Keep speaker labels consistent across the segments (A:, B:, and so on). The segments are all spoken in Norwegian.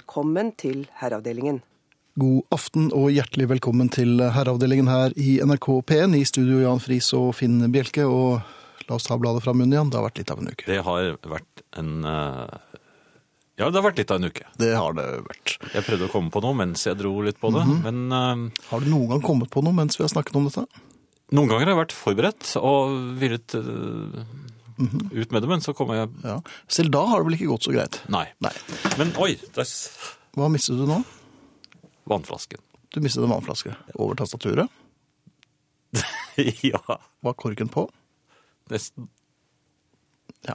A: Velkommen til Herreavdelingen.
B: God aften og hjertelig velkommen til herreavdelingen her i NRK P1. I studio Jan Friis og Finn Bjelke. Og la oss ta bladet fra munnen igjen. Det har vært litt av en uke.
C: Det har vært en eh, Ja, det har vært litt av en uke.
B: Det har det vært.
C: Jeg prøvde å komme på noe mens jeg dro litt på det.
B: Mhm.
C: Men eh,
B: Har du noen gang kommet på noe mens vi har snakket om dette?
C: noen ganger har jeg vært forberedt og villet eh,
B: Mhm.
C: ut med det, men så kom jeg
B: Ja. Selv da har det vel ikke gått så greit?
C: Nei.
B: Nei.
C: Men oi, der s-
B: Hva mistet du nå?
C: vannflasken.
B: Du mistet en vannflaske over tastaturet.
C: ja,
B: Var korken på?
C: nesten.
B: Ja.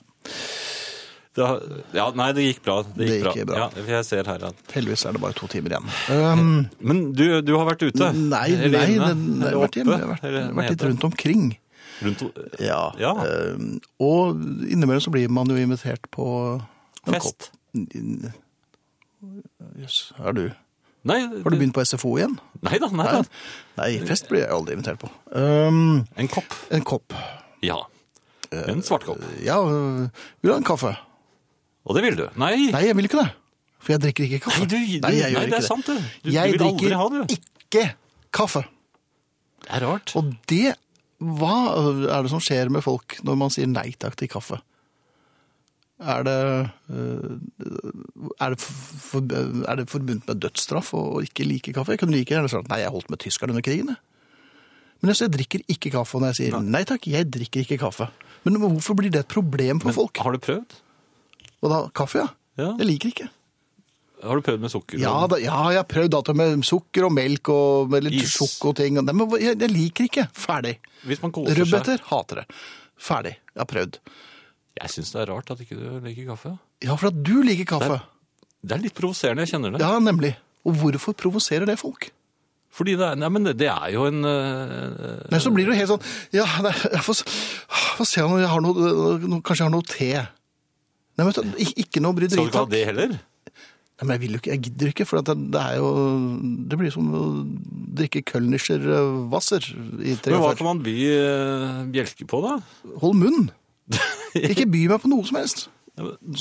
C: Det, har- ja, nei, det gikk bra. Det gikk,
B: Det gikk bra.
C: Ja, for jeg ser her at
B: Heldigvis er det bare to timer igjen. Um,
C: Men du, du har vært ute?
B: nei,
C: Eller
B: nei, det,
C: inne,
B: det har
C: eller
B: vært hjemme.
C: oppe,
B: Jeg har vært,
C: eller hva
B: vært litt
C: heter det?
B: rundt omkring.
C: Rundt-
B: Ja.
C: Ja.
B: Ehm, og innimellom så blir man jo invitert på en
C: Fest.
B: kopp. Jøss, er du
C: Nei,
B: Har du begynt på SFO igjen?
C: Nei da, nei da.
B: Nei, fest blir jeg aldri invitert på. Ehm,
C: En kopp.
B: en kopp.
C: Ja. En svartkopp.
B: Ja, øh, vil du ha en kaffe?
C: Og det vil du. Nei,
B: Nei, jeg vil ikke det. For jeg drikker ikke kaffe.
C: Nei, du- du-
B: jeg
C: nei,
B: gjør
C: det er sant, det. Du- du
B: jeg
C: vil aldri
B: drikker
C: ha det.
B: ikke kaffe.
C: det er rart.
B: Og det Hva er det som skjer med folk når man sier nei takk til kaffe? Er det, øh, er det, for, er det forbundet med dødsstraff å å ikke like kaffe? Jeg kunne like gjerne sagt nei, jeg holdt med tyskerne under krigen. jeg». Men altså, jeg drikker ikke kaffe når jeg sier nei takk, jeg drikker ikke kaffe. Men hvorfor blir det et problem for folk?
C: Har du prøvd?
B: Og da, kaffe, ja.
C: Ja.
B: Jeg liker ikke.
C: Har du prøvd med sukker?
B: Ja, da, ja, jeg har prøvd alt det med sukker og melk og med litt
C: Is.
B: sjokk og ting. Nei, men hva- jeg, jeg liker ikke. Ferdig.
C: Hvis man koser seg.
B: Rødbeter hater det. Ferdig. Jeg har prøvd.
C: Jeg syns det er rart at ikke du liker kaffe.
B: Ja, for at du liker kaffe.
C: Det er litt provoserende, jeg kjenner det.
B: Ja, nemlig. Og hvorfor provoserer det folk?
C: Fordi det er, nei, men det, det er jo en øh,
B: Nei, så blir det jo helt sånn Ja, nei, jeg får, s- får se om jeg har noe, noe Kanskje jeg har noe te. Nei, vet du, ik- ikke noe bryderi,
C: Skal du ikke ha
B: takk.
C: det heller?
B: Nei, men jeg vil jo ikke, jeg gidder ikke, for at det, det er jo Det blir som å drikke Kölnischer eh, Wasser i tre
C: Men hva
B: år.
C: kan man by øh, bjelke på, da?
B: Hold munn! Ikke by meg på noe som helst.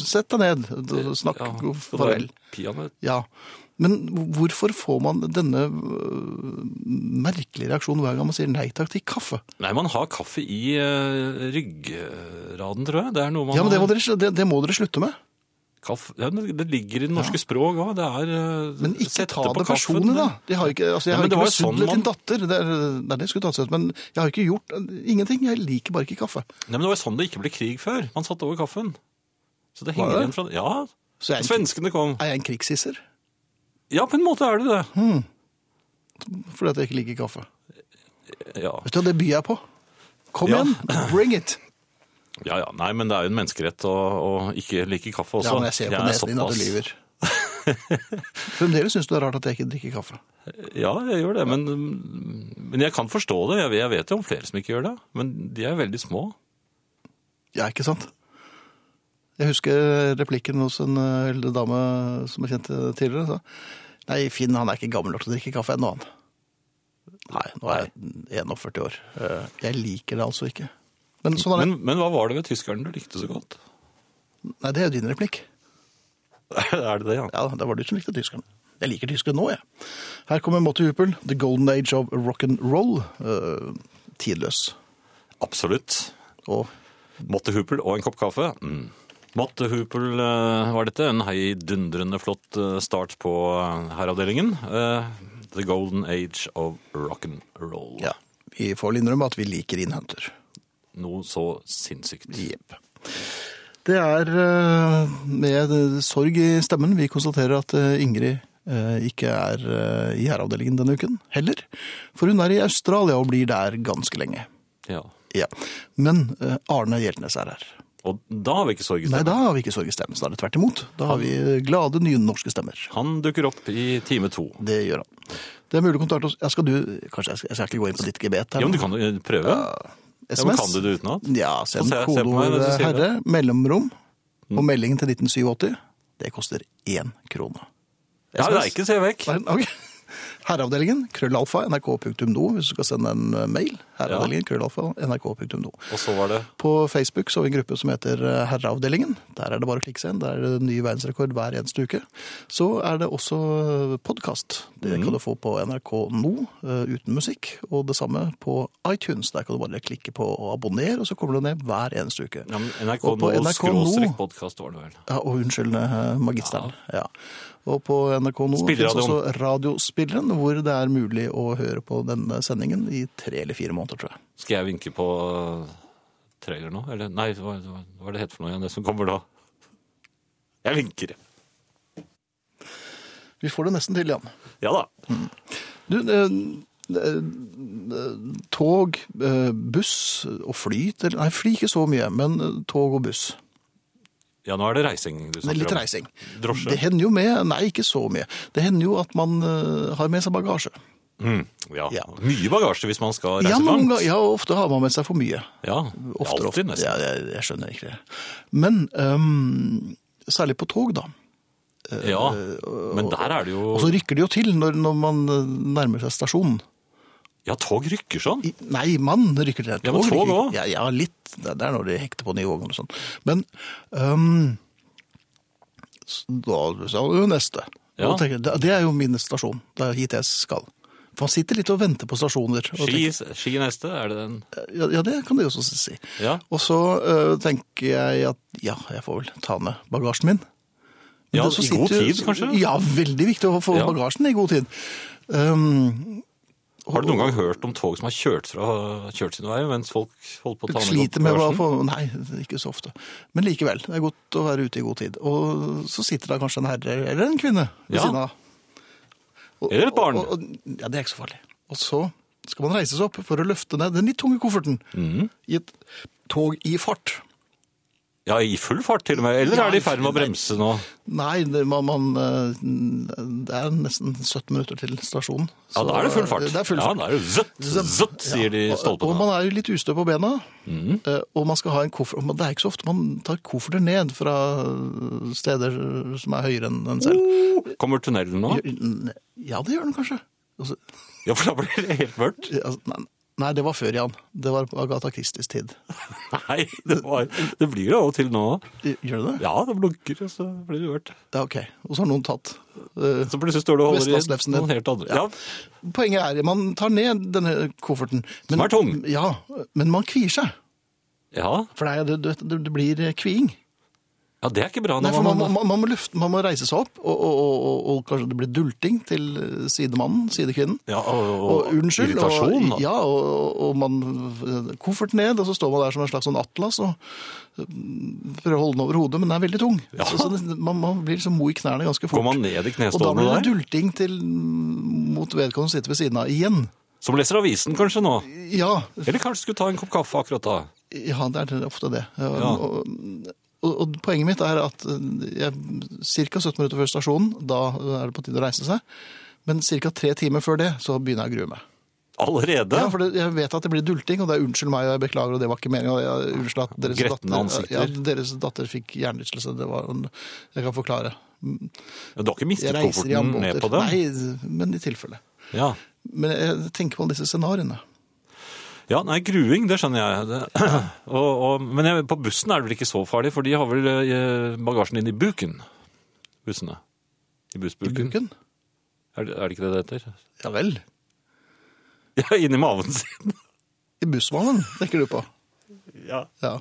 B: Sett deg ned, d- snakk
C: Ja,
B: god
C: skal det være
B: farvel.
C: peanøtt?
B: Ja. Men hvorfor får man denne øh, merkelige reaksjonen hver gang man sier nei takk til kaffe?
C: Nei, man har kaffe i øh, ryggraden, tror jeg. Det er noe man
B: Ja, men det må
C: har-
B: dere, sl- det, det må dere slutte med.
C: kaffe, ja, men det ligger i det norske språk òg. Det er øh,
B: Men ikke
C: sette
B: ta
C: på
B: det
C: kaffen,
B: personlig, da.
C: men-
B: De har ikke, altså, jeg
C: Ja,
B: har
C: men det
B: ikke
C: var jo sånn
B: besudlet
C: man-
B: din datter. Det er, det er det jeg skulle tatt seg ut, men jeg har ikke gjort ingenting. Jeg liker bare ikke kaffe.
C: Nei, men Det var sånn det ikke ble krig før. Man satte over kaffen. Så det
B: Var
C: henger
B: det?
C: igjen fra Ja,
B: Så jeg er, en,
C: svenskene kom.
B: er jeg en krigshisser
C: Ja, på en måte er det det.
B: fordi at jeg ikke liker kaffe?
C: Ja,
B: Vet du, hva, det byr jeg på. Kom
C: Ja.
B: igjen, bring it!
C: ja, ja. Nei, men det er jo en menneskerett å, å ikke like kaffe også.
B: Ja, men jeg ser på
C: er
B: nesen din at du
C: såpass-
B: lyver. Fremdeles syns du det er rart at jeg ikke drikker kaffe.
C: Ja, jeg gjør det. Men, men jeg kan forstå det. Jeg, jeg vet jo om flere som ikke gjør det. Men de er veldig små.
B: Ja, ikke sant? Jeg husker replikken hos en eh, eldre dame som jeg kjente tidligere. Sa. Nei, Finn han er ikke gammel nok til å drikke kaffe ennå, han. Nei, nå er jeg 41 år. Eh, Jeg liker det altså ikke. Men sånn er det.
C: Men, men hva var det ved tyskeren du likte så godt?
B: Nei, det er jo din replikk.
C: er det det, ja?
B: Ja, det var du som likte tyskerne. Jeg liker tyskerne nå, jeg. Her kommer Motte Hupel, 'The Golden Age of Rock'n'Roll'. eh, Tidløs.
C: Absolutt.
B: Og
C: Motte Hupel og en kopp kaffe. Mm. Motte Hupel eh, var dette. En heidundrende flott eh, start på eh, herreavdelingen. Eh, The Golden Age of Rock'n'Roll.
B: ja, vi får innrømme at vi liker innhenter.
C: Noe så sinnssykt.
B: Jepp. Det er eh, med sorg i stemmen vi konstaterer at eh, Ingrid eh, ikke er eh, i herreavdelingen denne uken heller. For hun er i Australia og blir der ganske lenge.
C: Ja.
B: Ja. Men eh, Arne Hjeltnes er her.
C: Og da har vi ikke sorg i
B: Nei,
C: stemmen.
B: da har vi ikke sorg i stemmen, snarere tvert imot. Da har vi eh, glade, nye norske stemmer.
C: Han dukker opp i time to.
B: Det gjør han. Det er mulig å kontakte oss. Ja, skal du, kanskje jeg skal, jeg skal ikke gå inn på ditt gebet her.
C: Ja, men
B: nå.
C: du kan jo eh, prøve. Ja, men kan du det utenat?
B: Ja, send
C: Så ser- ser på meg
B: kodeord
C: mens du Mm. sier det.
B: herre, mellomrom og meldingen til 1987. Det koster én krone.
C: Ja, det er ikke se vekk.
B: Nei, ok. Herreavdelingen, krøllalfa, nrk.no hvis du skal sende en eh, mail. Herreavdelingen, krøllalfa, nrk.no.
C: Og så var det
B: På Facebook så har vi en gruppe som heter eh, Herreavdelingen. Der er det bare å klikke seg inn. Der er det ny verdensrekord hver eneste uke. Så er det også podkast. Det
C: Mm.
B: kan du få på NRK nå, eh, uten musikk. Og det samme på iTunes. Der kan du bare klikke på abonner, og så kommer det ned hver eneste uke.
C: ja, men NRK
B: Og på
C: nå
B: NRK nå-
C: skråstrek podkast, var det vel.
B: Ja, og unnskyld, eh, magisteren. Ja. Og på NRK nå finnes
C: Spilleradioen.
B: også Radiospilleren, hvor det er mulig å høre på denne sendingen i tre eller fire måneder, tror jeg.
C: Skal jeg vinke på trailer nå? Eller nei, hva, hva hva er det het for noe igjen, det som kommer da? Jeg vinker.
B: Vi får det nesten til, Jan.
C: Ja da.
B: Du, eh, eh, tog, eh, buss og fly til Nei, fly ikke så mye, men eh, tog og buss.
C: Ja, nå er det reising du
B: Det
C: snakker
B: er litt
C: om.
B: reising.
C: Drosje.
B: Det hender jo med Nei, ikke så mye. Det hender jo at man eh, har med seg bagasje.
C: Mm, ja.
B: Ja.
C: Mye bagasje hvis man skal reise
B: Ja, noen
C: langt.
B: ganger, ja, ofte har man med seg for mye.
C: Ja,
B: Oftere,
C: alltid
B: ofte.
C: nesten.
B: Ja, jeg, jeg skjønner ikke det. Men øhm, særlig på tog, da.
C: Ja, men der er det jo
B: øh, Og så rykker det jo til når, når man øh, nærmer seg stasjonen.
C: Ja, tog rykker sånn.
B: I, nei, mann rykker til.
C: Ja, men tog
B: rykker-
C: også.
B: Ja, ja, litt. Det det er når de hekter på nivåen og sånn. Men øhm, s- da sa du jo neste.
C: Ja.
B: Og tenker jeg, Det det er jo min stasjon. Det er hit jeg skal. For man sitter litt og venter på stasjoner. og
C: Ski, ski neste, er det den?
B: tenker, Ja, ja, det kan de også si.
C: Ja.
B: Og så øh, tenker jeg at ja, jeg får vel ta med bagasjen min. Men
C: Ja,
B: det- så
C: i god
B: sitter jo-
C: tid, kanskje?
B: Ja, veldig viktig å få
C: Ja.
B: bagasjen i god tid. Um,
C: Har du noen gang hørt om tog som har kjørt, fra, kjørt sin vei mens folk holder på å ta med
B: sliter med å
C: bagasjen?
B: få Nei, ikke så ofte. Men likevel. Det er godt å være ute i god tid. Og så sitter da kanskje en herre eller en kvinne ved
C: Ja.
B: siden av. Og-
C: Eller et barn.
B: Og, og, ja, det er ikke så farlig. Og så skal man reise seg opp for å løfte ned den litt tunge kofferten
C: Mm.
B: i et tog i fart.
C: Ja, i full fart til og med. Eller
B: Ja,
C: er de i ferd med å
B: nei.
C: bremse nå?
B: Nei, det, man, man, eh, det er nesten 17 minutter til stasjonen. eh,
C: Ja, da er det full fart.
B: Det er full
C: ja,
B: fart.
C: da er det zøtt, zøtt, sier de
B: Ja, og- Og
C: stolpene.
B: man er jo litt ustø på bena,
C: Mm.
B: eh, og man skal ha en koffert. og man- Det er ikke så ofte man tar kofferter ned fra steder som er høyere enn en selv.
C: Kommer tunnelen nå?
B: Gjør- Ja, det gjør den kanskje. Altså,
C: Ja, for da blir det helt mørkt.
B: altså, nei, nei, det var før, Jan. Det var på Agatha Christies tid.
C: Nei, det, var, det blir det av og til nå.
B: Gjør det det?
C: Ja, det blunker, og så blir det mørkt.
B: Ja, ok. Og så har noen tatt. Eh,
C: Så plutselig står du og holder i
B: Vestlandslefsen din.
C: noen helt andre.
B: Ja.
C: Ja,
B: Poenget er, man tar ned denne kofferten. men-
C: Som er tung.
B: Ja, men man kvier seg.
C: ja.
B: For det, er- du- du vet, det, det blir kviing.
C: ja det er ikke bra
B: Nei,
C: når
B: for man,
C: man,
B: må- man, man, må løfte, man må reise seg opp, og, og, og, og, og kanskje det blir dulting til sidemannen, sidekvinnen.
C: ja, og, og,
B: Og unnskyld.
C: irritasjon.
B: Og, ja, og, og man koffert ned, og så står man der som en slags sånn atlas og øh, prøver å holde den over hodet, men den er veldig tung.
C: Ja.
B: Så, så det, man, man blir liksom mo i knærne ganske fort.
C: Går man ned i
B: og da blir
C: knestålene
B: det
C: der?
B: dulting til, mot vedkommende som sitter ved siden av igjen.
C: Som leser avisen kanskje nå?
B: Ja,
C: Eller kanskje skulle ta en kopp kaffe akkurat da?
B: Ja, det er ofte det.
C: Ja.
B: Og, og, og poenget mitt er at ca. 17 minutter før stasjonen, da er det på tide å reise seg. Men ca. tre timer før det, så begynner jeg å grue meg.
C: Allerede?
B: Ja, for det, Jeg vet at det blir dulting, og det er 'unnskyld meg, og jeg beklager', og det var ikke meningen, og jeg- Unnskyld at deres
C: Gretne
B: datter,
C: ansikter.
B: ja, deres datter fikk hjernerystelse. Det var en, Jeg kan forklare.
C: Du har ikke
B: Jeg
C: mistet
B: reiser i
C: kofferten ned på
B: ambulanter.
C: den?
B: Nei, men i tilfelle.
C: Ja.
B: Men jeg tenker på disse scenarioene.
C: ja, nei, gruing, det skjønner jeg. Det. Og, og, men jeg, på bussen er det vel ikke så farlig, for de har vel eh, bagasjen din i buken? Bussene. I
B: I
C: bussbuken.
B: buken?
C: Er, det- er det ikke det det heter?
B: Ja vel.
C: Ja, inni maven sin.
B: I bussvognen, tenker du på.
C: Ja.
B: Ja.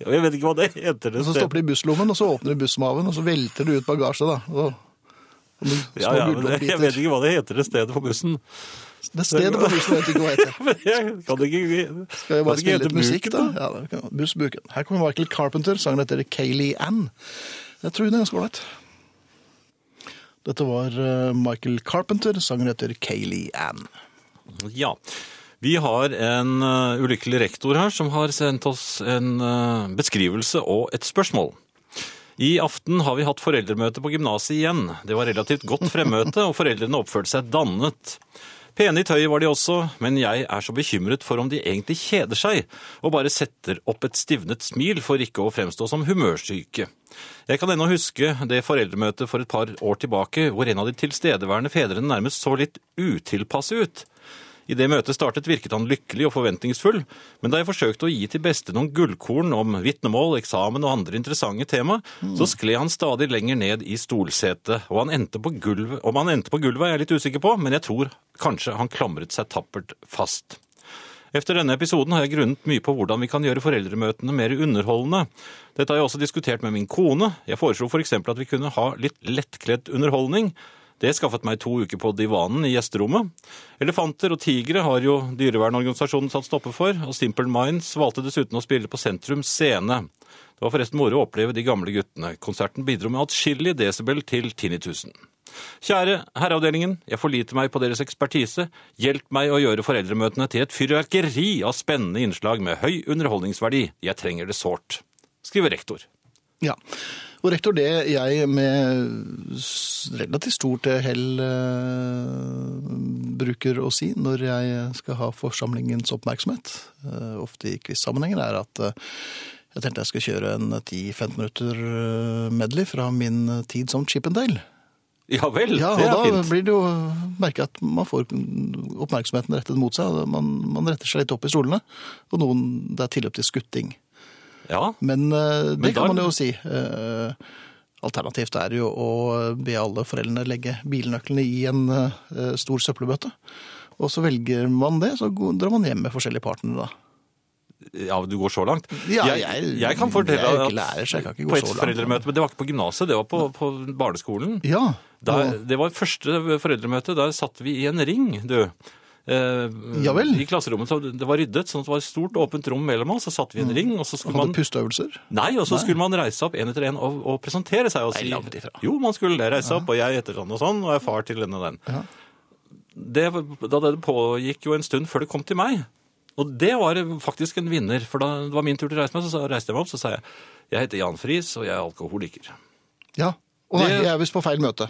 C: Ja, Jeg vet ikke hva det heter. Det
B: Og så stopper de i busslommen, og så åpner de bussmaven, og så velter de ut bagasje, da. Og, og med små
C: ja, ja, men det, jeg vet
B: gulrotbiter.
C: ikke hva det heter det stedet på bussen.
B: Det stedet på bussen vet jeg ikke hva heter.
C: Men jeg kan ikke
B: Skal jeg
C: kan
B: bare
C: ikke
B: spille
C: hete
B: litt musikk,
C: Buken,
B: da? Ja, det kan- Bussbuken. Her kommer Michael Carpenter, sangen heter Kayleigh Ann. Jeg tror den er ganske ålreit. Dette var eh, Michael Carpenter, sangen heter Kayleigh Ann.
C: Ja. Vi har en eh, ulykkelig rektor her som har sendt oss en eh, beskrivelse og et spørsmål. I aften har vi hatt foreldremøte på gymnaset igjen. Det var relativt godt fremmøte, og foreldrene oppførte seg dannet. Pene i tøyet var de også, men jeg er så bekymret for om de egentlig kjeder seg og bare setter opp et stivnet smil for ikke å fremstå som humørsyke. Jeg kan ennå huske det foreldremøtet for et par år tilbake hvor en av de tilstedeværende fedrene nærmest så litt utilpass ut. I det møtet startet virket han lykkelig og forventningsfull, men da jeg forsøkte å gi til beste noen gullkorn om vitnemål, eksamen og andre interessante tema, så skled han stadig lenger ned i stolsetet, og han endte på gulvet, om han endte på gulvet er jeg litt usikker på, men jeg tror kanskje han klamret seg tappert fast. Efter denne episoden har jeg grunnet mye på hvordan vi kan gjøre foreldremøtene mer underholdende. Dette har jeg også diskutert med min kone. Jeg foreslo f.eks. eksempel at vi kunne ha litt lettkledd underholdning. Det skaffet meg to uker på divanen i gjesterommet. Elefanter og tigre har jo dyrevernorganisasjonen satt stopper for, og Simple Minds valgte dessuten å spille på Sentrum Scene. Det var forresten moro å oppleve de gamle guttene. Konserten bidro med atskillig desibel til tinnitusen. Kjære herreavdelingen, jeg forliter meg på deres ekspertise. Hjelp meg å gjøre foreldremøtene til et fyrverkeri av spennende innslag med høy underholdningsverdi. Jeg trenger det sårt. Skriver rektor.
B: Ja. Og rektor, det jeg med s- relativt stort hell eh, bruker å si når jeg skal ha forsamlingens oppmerksomhet, eh, ofte i quiz-sammenhenger, er at eh, jeg tenkte jeg skal kjøre en 10-15 minutter eh, medley fra min tid som Chippendale.
C: Ja vel,
B: Ja, og
C: Mm, det er
B: da
C: fint.
B: blir det jo merke at man får oppmerksomheten rettet mot seg. og Man, man retter seg litt opp i stolene, og noen, det er tilløp til skutting.
C: Ja,
B: Men eh, det
C: Men da-
B: kan man jo si. Eh, alternativt er jo å be alle foreldrene legge bilnøklene i en eh, stor søppelbøtte. Og så velger man det, så går- drar man hjem med forskjellige partnere, da.
C: ja, du går så langt.
B: Ja,
C: jeg,
B: jeg-
C: jeg kan fortelle
B: jeg er jo
C: at
B: ikke lærer, så jeg kan ikke gå
C: på et
B: så langt.
C: foreldremøte, men det var ikke på gymnaset, det var på, på barneskolen.
B: Ja.
C: Der,
B: og-
C: det var første foreldremøte, der satt vi i en ring, du. Eh,
B: Ja vel.
C: I klasserommet, så det var ryddet, sånn at det var et stort åpent rom mellom oss, så satt vi i en ring, og så skulle
B: Mm. Hadde
C: man...
B: pusteøvelser.
C: Nei, og så skulle man reise opp en etter en og, og presentere seg. Og si,
B: langt ifra.
C: Jo, man skulle det. reise opp, og jeg heter sånn og sånn, og jeg er far til den og den. Det, var- da det pågikk jo en stund før det kom til meg. Og det var faktisk en vinner, for da det var min tur til å reise meg, så sa- reiste jeg meg opp, så sa jeg jeg heter Jan Friis, og jeg er alkoholiker.
B: Ja. Å nei,
C: Det-
B: jeg er visst på feil møte.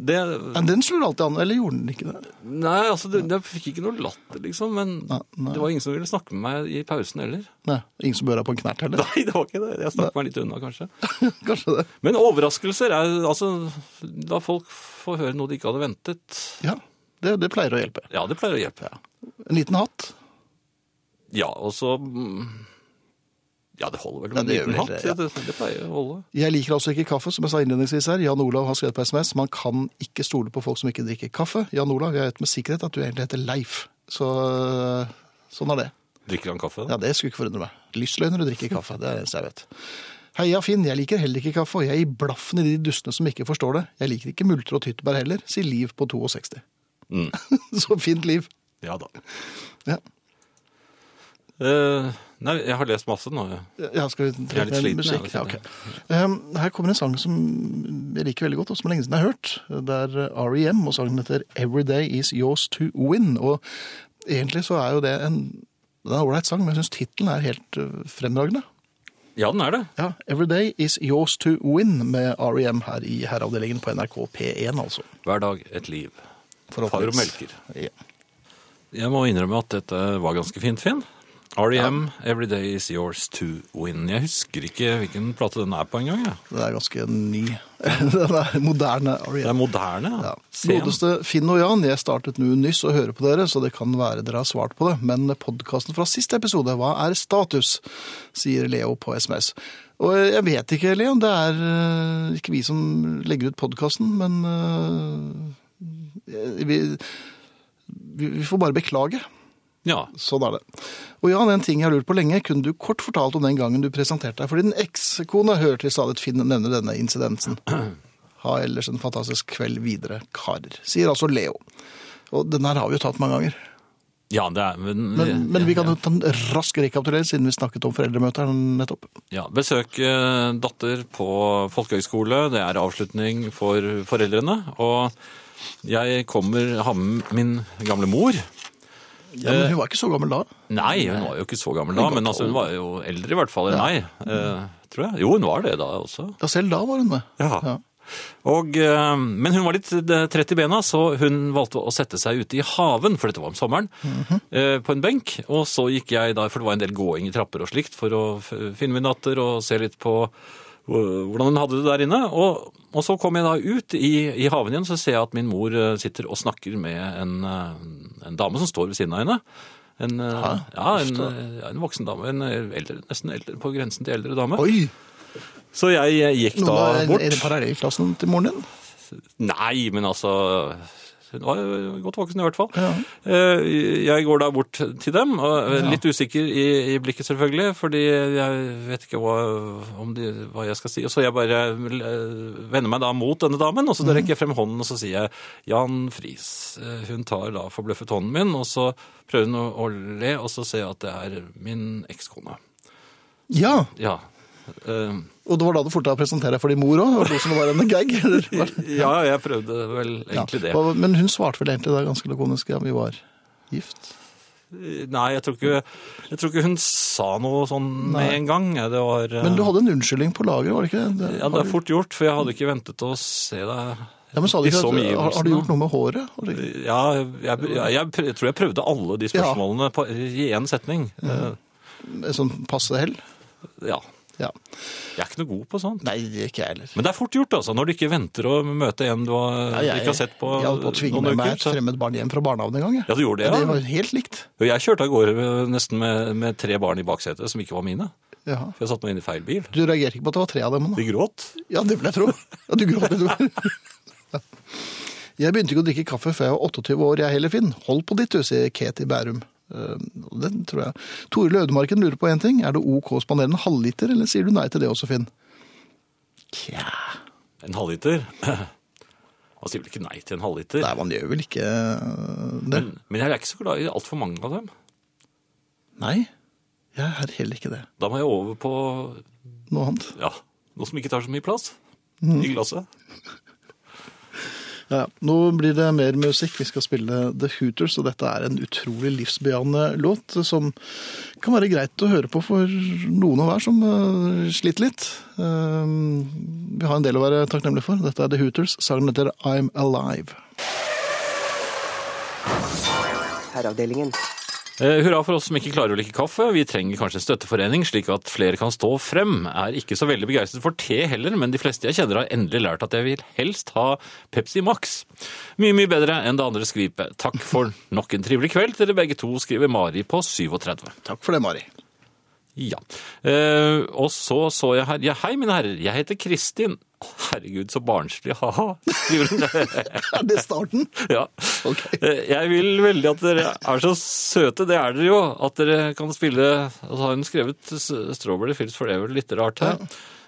C: Det,
B: Men den slår alltid an. Eller gjorde den ikke det?
C: nei, altså, det, jeg fikk ikke noe latter, liksom, men
B: Nei, nei.
C: det var ingen som ville snakke med meg i pausen heller.
B: Nei, Ingen som bør ha på en knert heller?
C: Nei, det var ikke det. Jeg snakket meg litt unna, kanskje.
B: Kanskje det.
C: Men overraskelser er altså La folk få høre noe de ikke hadde ventet.
B: Ja, det, det pleier å hjelpe.
C: Ja, det pleier å hjelpe.
B: En liten hatt.
C: Ja, og så mm, Ja, det holder vel
B: Ja,
C: med en
B: det gjør
C: liten
B: vel
C: hatt.
B: det,
C: Det, det, det pleier å holde.
B: Jeg liker altså ikke kaffe, som jeg sa innledningsvis her. Jan Olav har skrevet på SMS. Man kan ikke stole på folk som ikke drikker kaffe. Jan Olav, jeg vet med sikkerhet at du egentlig heter Leif. Så øh, sånn er det.
C: Drikker han kaffe?
B: Ja, det skulle ikke forundre meg. Lystløgner og drikker kaffe, det er det eneste jeg vet. Heia Finn, jeg liker heller ikke kaffe, og jeg gir blaffen i de dustene som ikke forstår det. Jeg liker ikke multer og tyttebær heller, sier Liv på 62.
C: Mm.
B: Så fint liv.
C: Ja da.
B: Ja.
C: Eh, nei, jeg har lest masse nå.
B: Ja, skal vi
C: Jeg er litt
B: trekke
C: sliten,
B: med musikk?
C: jeg,
B: Ja,
C: jeg
B: ok. um, her kommer en sang som jeg liker veldig godt, og som er lenge siden jeg har hørt. Det er eh, R.E.M., og sangen heter 'Every Day Is Yours To Win'. Og egentlig så er jo det en det er en ålreit sang, men jeg syns tittelen er helt uh, fremragende.
C: Ja, den er det.
B: Ja, 'Every Day Is Yours To Win' med R.E.M. her i herreavdelingen på NRK P1, altså.
C: Hver dag et liv. Far og
B: Forhåpentligvis.
C: melker.
B: Ja.
C: Jeg må innrømme at dette var ganske fint, Finn. REM, 'Every Day Is Yours To Win'. Jeg husker ikke hvilken plate den er på engang. jeg.
B: Den er ganske ny. Den er moderne E
C: Det
B: R.E.M.
C: er moderne.
B: Ja.
C: Sen.
B: Godeste Finn og Jan, jeg startet nå nyss å høre på dere, så det kan være dere har svart på det. Men podkasten fra siste episode, hva er status? sier Leo på SMS. Og jeg vet ikke, Leo. Det er øh, ikke vi som legger ut podkasten, men øh, vi, vi vi får bare beklage.
C: Ja.
B: Sånn er det. Og Jan, en ting jeg har lurt på lenge. Kunne du kort fortalt om den gangen du presenterte deg for din ekskone? Hører til stadig Finn nevne denne incidensen. Ha ellers en fantastisk kveld videre, karer. Sier altså Leo. Og den her har vi jo tatt mange ganger.
C: ja, det er Men,
B: Men, men vi kan jo ta en rask rekapitulering, siden vi snakket om foreldremøter nettopp.
C: Ja, Besøk eh, datter på folkehøyskole. Det er avslutning for foreldrene. Og jeg kommer har med min gamle mor.
B: Ja,
C: Eh.
B: men hun var ikke så gammel da.
C: Nei, hun var jo ikke så gammel da, men altså, hun var jo eldre i hvert fall enn meg. eh, Tror jeg. Jo, hun var det da også.
B: Ja, selv da var hun med.
C: Ja. Og, eh, men hun var litt eh, trett i bena, så hun valgte å sette seg ute i haven, for dette var om sommeren, eh, på en benk. Og så gikk jeg da, for det var en del gåing i trapper og slikt, for å f- finne min datter og se litt på eh, hvordan hun hadde det der inne. Og, og så kom jeg da ut i, i haven igjen, så ser jeg at min mor eh, sitter og snakker med en, eh, en dame som står ved siden av henne. En, eh, ja, en, eh, en voksen dame, en eh, eldre, nesten eldre, på grensen til eldre dame.
B: Oi!
C: Så jeg eh, gikk
B: Noen
C: ah. da
B: er,
C: bort.
B: er det parallellklassen til moren din?
C: Nei, men altså Hun var jo godt voksen i hvert fall.
B: Ja.
C: Eh, Jeg går da bort til dem, og er litt usikker i, i blikket selvfølgelig, fordi jeg vet ikke hva, om de, hva jeg skal si. Og så jeg bare eh, vender meg da mot denne damen, og så rekker jeg frem hånden, og så sier jeg Jan Friis. Eh, Hun tar da forbløffet hånden min, og så prøver hun å, å le, og så ser jeg at det er min ekskone.
B: Ja,
C: Ja. Eh,
B: og det var da du fortet å presentere deg for din mor òg? Og som det var en gag? Eller? hva?
C: ja, jeg prøvde vel egentlig det.
B: Ja. Hva- Men hun svarte vel egentlig da ganske lakonisk ja, vi var gift?
C: Nei, jeg tror ikke, jeg tror ikke hun sa noe sånn med en gang. Det var, eh,
B: Men du hadde en unnskyldning på lageret, var det ikke? det?
C: ja, det er fort gjort, for jeg hadde ikke ventet å se deg
B: ja, men sa du
C: i
B: ikke
C: så
B: at,
C: mye
B: har, har du gjort noe med håret? Har du-
C: Ja, jeg, jeg, jeg, pr- jeg tror jeg prøvde alle de spørsmålene på, i én setning. Eh,
B: Et sånn passe hell?
C: Ja,
B: Ja.
C: jeg er ikke noe god på sånt.
B: Nei, det er ikke jeg heller.
C: Men det er fort gjort, altså, når du ikke venter å møte en du har,
B: Ja,
C: ikke har sett på
B: jeg holdt på å tvinge med meg et
C: så-
B: fremmed barn hjem fra barnehagen en gang. jeg.
C: Ja, du gjorde det,
B: Ja, det
C: ja.
B: var helt likt.
C: Og jeg kjørte av gårde med- nesten med, med tre barn i baksetet som ikke var mine.
B: Ja.
C: For jeg satte meg inn i feil bil.
B: Du reagerte ikke på at det var tre av dem? Da.
C: De gråt.
B: Ja, det vil jeg tro. Ja, du gråt litt. du. Jeg begynte ikke å drikke kaffe før jeg var 28 år, jeg heller, Finn. Hold på ditt, du, sier Kate i Bærum. Eh, og Den tror jeg. Tore Lødemarken lurer på én ting. Er det OK å spandere en halvliter, eller sier du nei til det også, Finn? Tja
C: En halvliter? Man sier vel ikke nei til en halvliter?
B: Nei, man gjør vel ikke det.
C: Men, men jeg er ikke så glad i altfor mange av dem.
B: Nei, jeg er heller ikke det.
C: Da må jeg over på
B: Noe annet.
C: ja, noe som ikke tar så mye plass i glasset.
B: Ja, ja. nå blir det mer musikk. Vi skal spille The Hooters, og dette er en utrolig livsbejaende låt som kan være greit å høre på for noen og hver som eh, sliter litt. Eh, vi har en del å være takknemlige for. Dette er The Hooters. Sangen heter I'm Alive.
A: Herreavdelingen.
C: Eh, hurra for oss som ikke klarer å like kaffe. Vi trenger kanskje en støtteforening, slik at flere kan stå frem. Er ikke så veldig begeistret for te heller, men de fleste jeg kjenner har endelig lært at jeg vil helst ha Pepsi Max. Mye, mye bedre enn det andre skvipet. Takk for nok en trivelig kveld. Dere begge to skriver Mari på 37.
B: Takk for det, Mari.
C: Ja. Eh, og så så jeg her Ja, hei, mine herrer. Jeg heter Kristin. Å, Herregud, så barnslig. Ha-ha. skriver hun.
B: Er det starten?
C: ja.
B: Ok.
C: Eh, Jeg vil veldig at dere er så søte. Det er dere jo. At dere kan spille Og så har hun skrevet s- Strawberry Fields Forever litt rart her.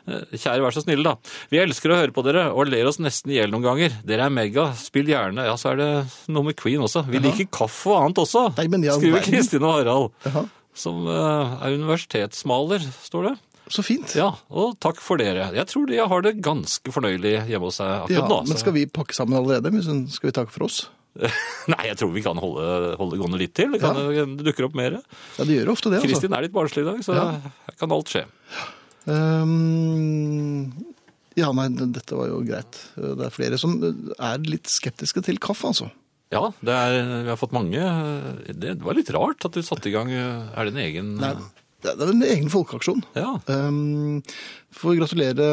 C: Eh, Kjære, vær så snille, da. Vi elsker å høre på dere og ler oss nesten i hjel noen ganger. Dere er mega. Spill gjerne. Ja, så er det noe med Queen også. Vi liker kaffe og annet også,
B: Nei, men i all
C: skriver
B: verden.
C: Kristin og Harald.
B: Jaha.
C: Som eh, er universitetsmaler, står det.
B: Så fint.
C: Ja, og takk for dere. Jeg tror de har det ganske fornøyelig hjemme hos seg akkurat
B: Ja,
C: nå.
B: men
C: så-
B: skal vi pakke sammen allerede? Men sånn, Skal vi takke for oss?
C: Nei, jeg tror vi kan holde, holde det gående litt til. Det, kan, det dukker opp mer.
B: Ja, det gjør ofte det. altså.
C: Kristin er litt barnslig i dag, så
B: Ja.
C: her kan alt skje.
B: Ehm, ja, nei, d- dette var jo greit. Det er flere som eh, er litt skeptiske til kaffe, altså.
C: Ja, det er, vi har fått mange Det var litt rart at du satte i gang eh, Er det en egen
B: Nei, det er en egen folkeaksjon.
C: Ja.
B: Um, Får gratulere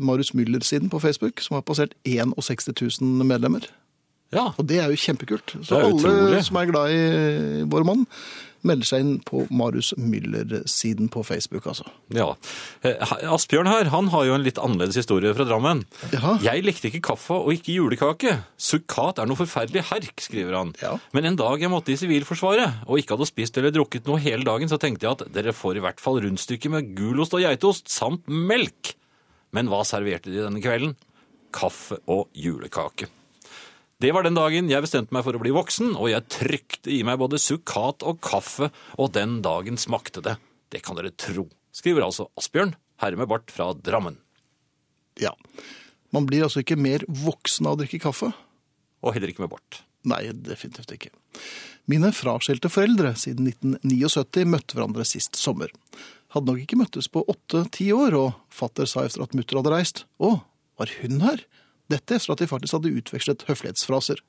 B: Marius Müller-siden på Facebook, som har passert 61 000 medlemmer.
C: ja.
B: Og det er jo kjempekult. Så
C: Det er
B: alle
C: utrolig.
B: som er glad i eh, vår mann, melder seg inn på Marius Müller-siden på Facebook, altså.
C: ja. Eh, Asbjørn her, han har jo en litt annerledes historie fra Drammen.
B: Jaha.
C: Jeg likte ikke kaffe og ikke julekake. Sukkat er noe forferdelig herk, skriver han.
B: Ja.
C: Men en dag jeg måtte i Sivilforsvaret og ikke hadde spist eller drukket noe hele dagen, så tenkte jeg at dere får i hvert fall rundstykker med gulost og geitost samt melk. Men hva serverte de denne kvelden? Kaffe og julekake. Det var den dagen jeg bestemte meg for å bli voksen, og jeg trykte i meg både sukkat og kaffe, og den dagen smakte det. Det kan dere tro, skriver altså Asbjørn, herre med bart fra Drammen.
B: Ja. Man blir altså ikke mer voksen av å drikke kaffe.
C: Og heller ikke med bart.
B: Nei, definitivt ikke. Mine fraskilte foreldre siden 1979 møtte hverandre sist sommer. Hadde nok ikke møttes på åtte-ti år, og fatter sa efter at mutter hadde reist. Å, var hun her? Dette etter at de faktisk hadde utvekslet høflighetsfraser.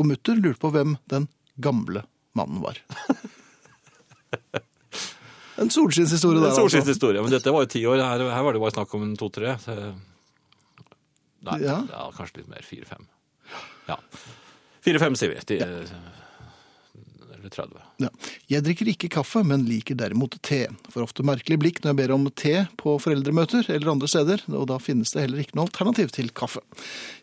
B: Og mutter lurte på hvem den gamle mannen var. En solskinnshistorie der,
C: En solskins
B: altså.
C: historie. Men dette var jo ti år. Her, her var det bare snakk om en to-tre. så- Nei, ja.
B: Ja.
C: kanskje litt mer. Fire-fem. Ja. Fire-fem, sier vi. Ti, Eller 30.
B: Ja. Jeg drikker ikke kaffe, men liker derimot te. For ofte merkelig blikk når jeg ber om te på foreldremøter eller andre steder, og da finnes det heller ikke noe alternativ til kaffe.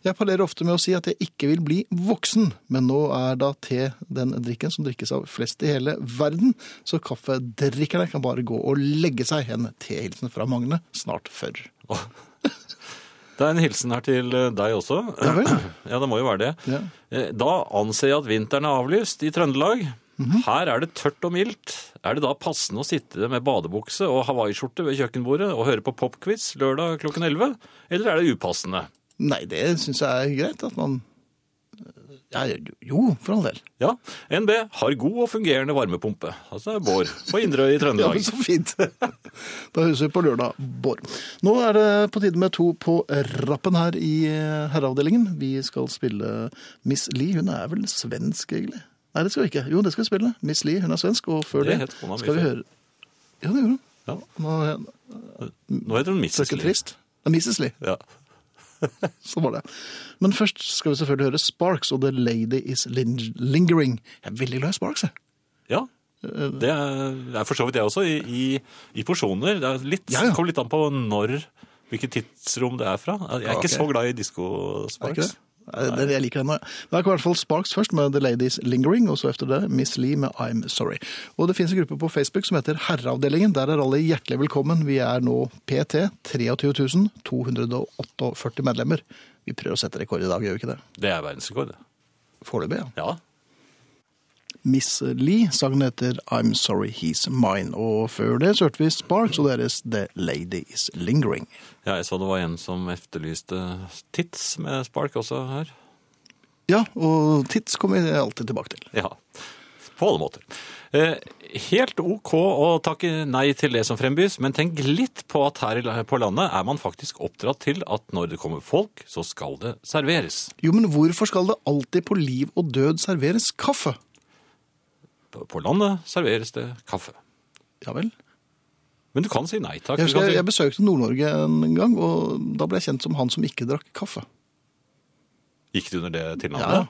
B: Jeg parlerer ofte med å si at jeg ikke vil bli voksen, men nå er da te den drikken som drikkes av flest i hele verden, så kaffedrikkerne kan bare gå og legge seg. En tehilsen fra Magne snart før.
C: Det er en hilsen her til eh, deg også.
B: Ja vel?
C: Ja, det må jo være det.
B: Ja.
C: Eh, Da anser jeg at vinteren er avlyst i Trøndelag.
B: Mhm.
C: Her er det tørt og mildt. Er det da passende å sitte med badebukse og hawaiiskjorte ved kjøkkenbordet og høre på popquiz lørdag klokken 11? Eller er det upassende?
B: Nei, det syns jeg er greit at man ja, Jo, for all del.
C: Ja, NB har god og fungerende varmepumpe. Altså Bård på Inderøy i
B: Ja,
C: Trøndelag.
B: men så fint. Da høres vi på lørdag, Bård. Nå er det på tide med to på rappen her i eh, herreavdelingen. Vi skal spille Miss Li. Hun er vel svensk, egentlig? Nei, det skal vi ikke. Jo, det skal vi spille. Miss Li, hun er svensk. Og før
C: Det
B: det,
C: het kona mi
B: skal vi
C: før.
B: høre Ja, det gjorde hun.
C: Ja.
B: Nå er jeg-
C: Nå heter
B: så er
C: hun
B: det
C: Mrs.
B: ikke
C: Lee.
B: trist. Det er Mrs. Li.
C: Ja.
B: Så var det. Men først skal vi selvfølgelig høre Sparks og The Lady Is Lin- Lingering. Jeg er veldig glad i Sparks, jeg.
C: ja.
B: Eh,
C: Det er er for så vidt jeg også, i, i, i porsjoner. Det er litt,
B: Ja, ja.
C: kommer litt an på når, hvilket tidsrom det er fra. Jeg er
B: Ja, ok.
C: ikke så glad i
B: Er det ikke
C: diskosparks.
B: det? Nei, det- Jeg liker den. Da er i hvert fall Sparks først med The Ladies Lingering, og så efter det Miss Lee med I'm Sorry. Og det finnes en gruppe på Facebook som heter Herreavdelingen. Der er alle hjertelig velkommen. Vi er nå PT 23 248 medlemmer. Vi prøver å sette rekord i dag, gjør vi ikke det?
C: Det er verdensrekord. det.
B: Foreløpig, ja.
C: Ja.
B: Miss Lee, sangen heter I'm Sorry He's Mine. Og før det så hørte vi Sparks og deres The Lady Is Lingering.
C: ja, jeg så det var en som efterlyste tits med spark også her.
B: Ja, og tids kommer vi alltid tilbake til.
C: Ja, på alle måter. Eh, Helt ok å takke nei til det som frembys, men tenk litt på at her i la- på landet er man faktisk oppdratt til at når det kommer folk, så skal det serveres.
B: Jo, men hvorfor skal det alltid på liv og død serveres kaffe?
C: På- På landet serveres det kaffe.
B: Ja vel.
C: Men du kan si nei takk.
B: Jeg,
C: Du kan
B: husker, jeg,
C: si,
B: jeg besøkte Nord-Norge en gang, og da ble jeg kjent som han som ikke drakk kaffe.
C: gikk du under det
B: Ja.
C: tilnavnet?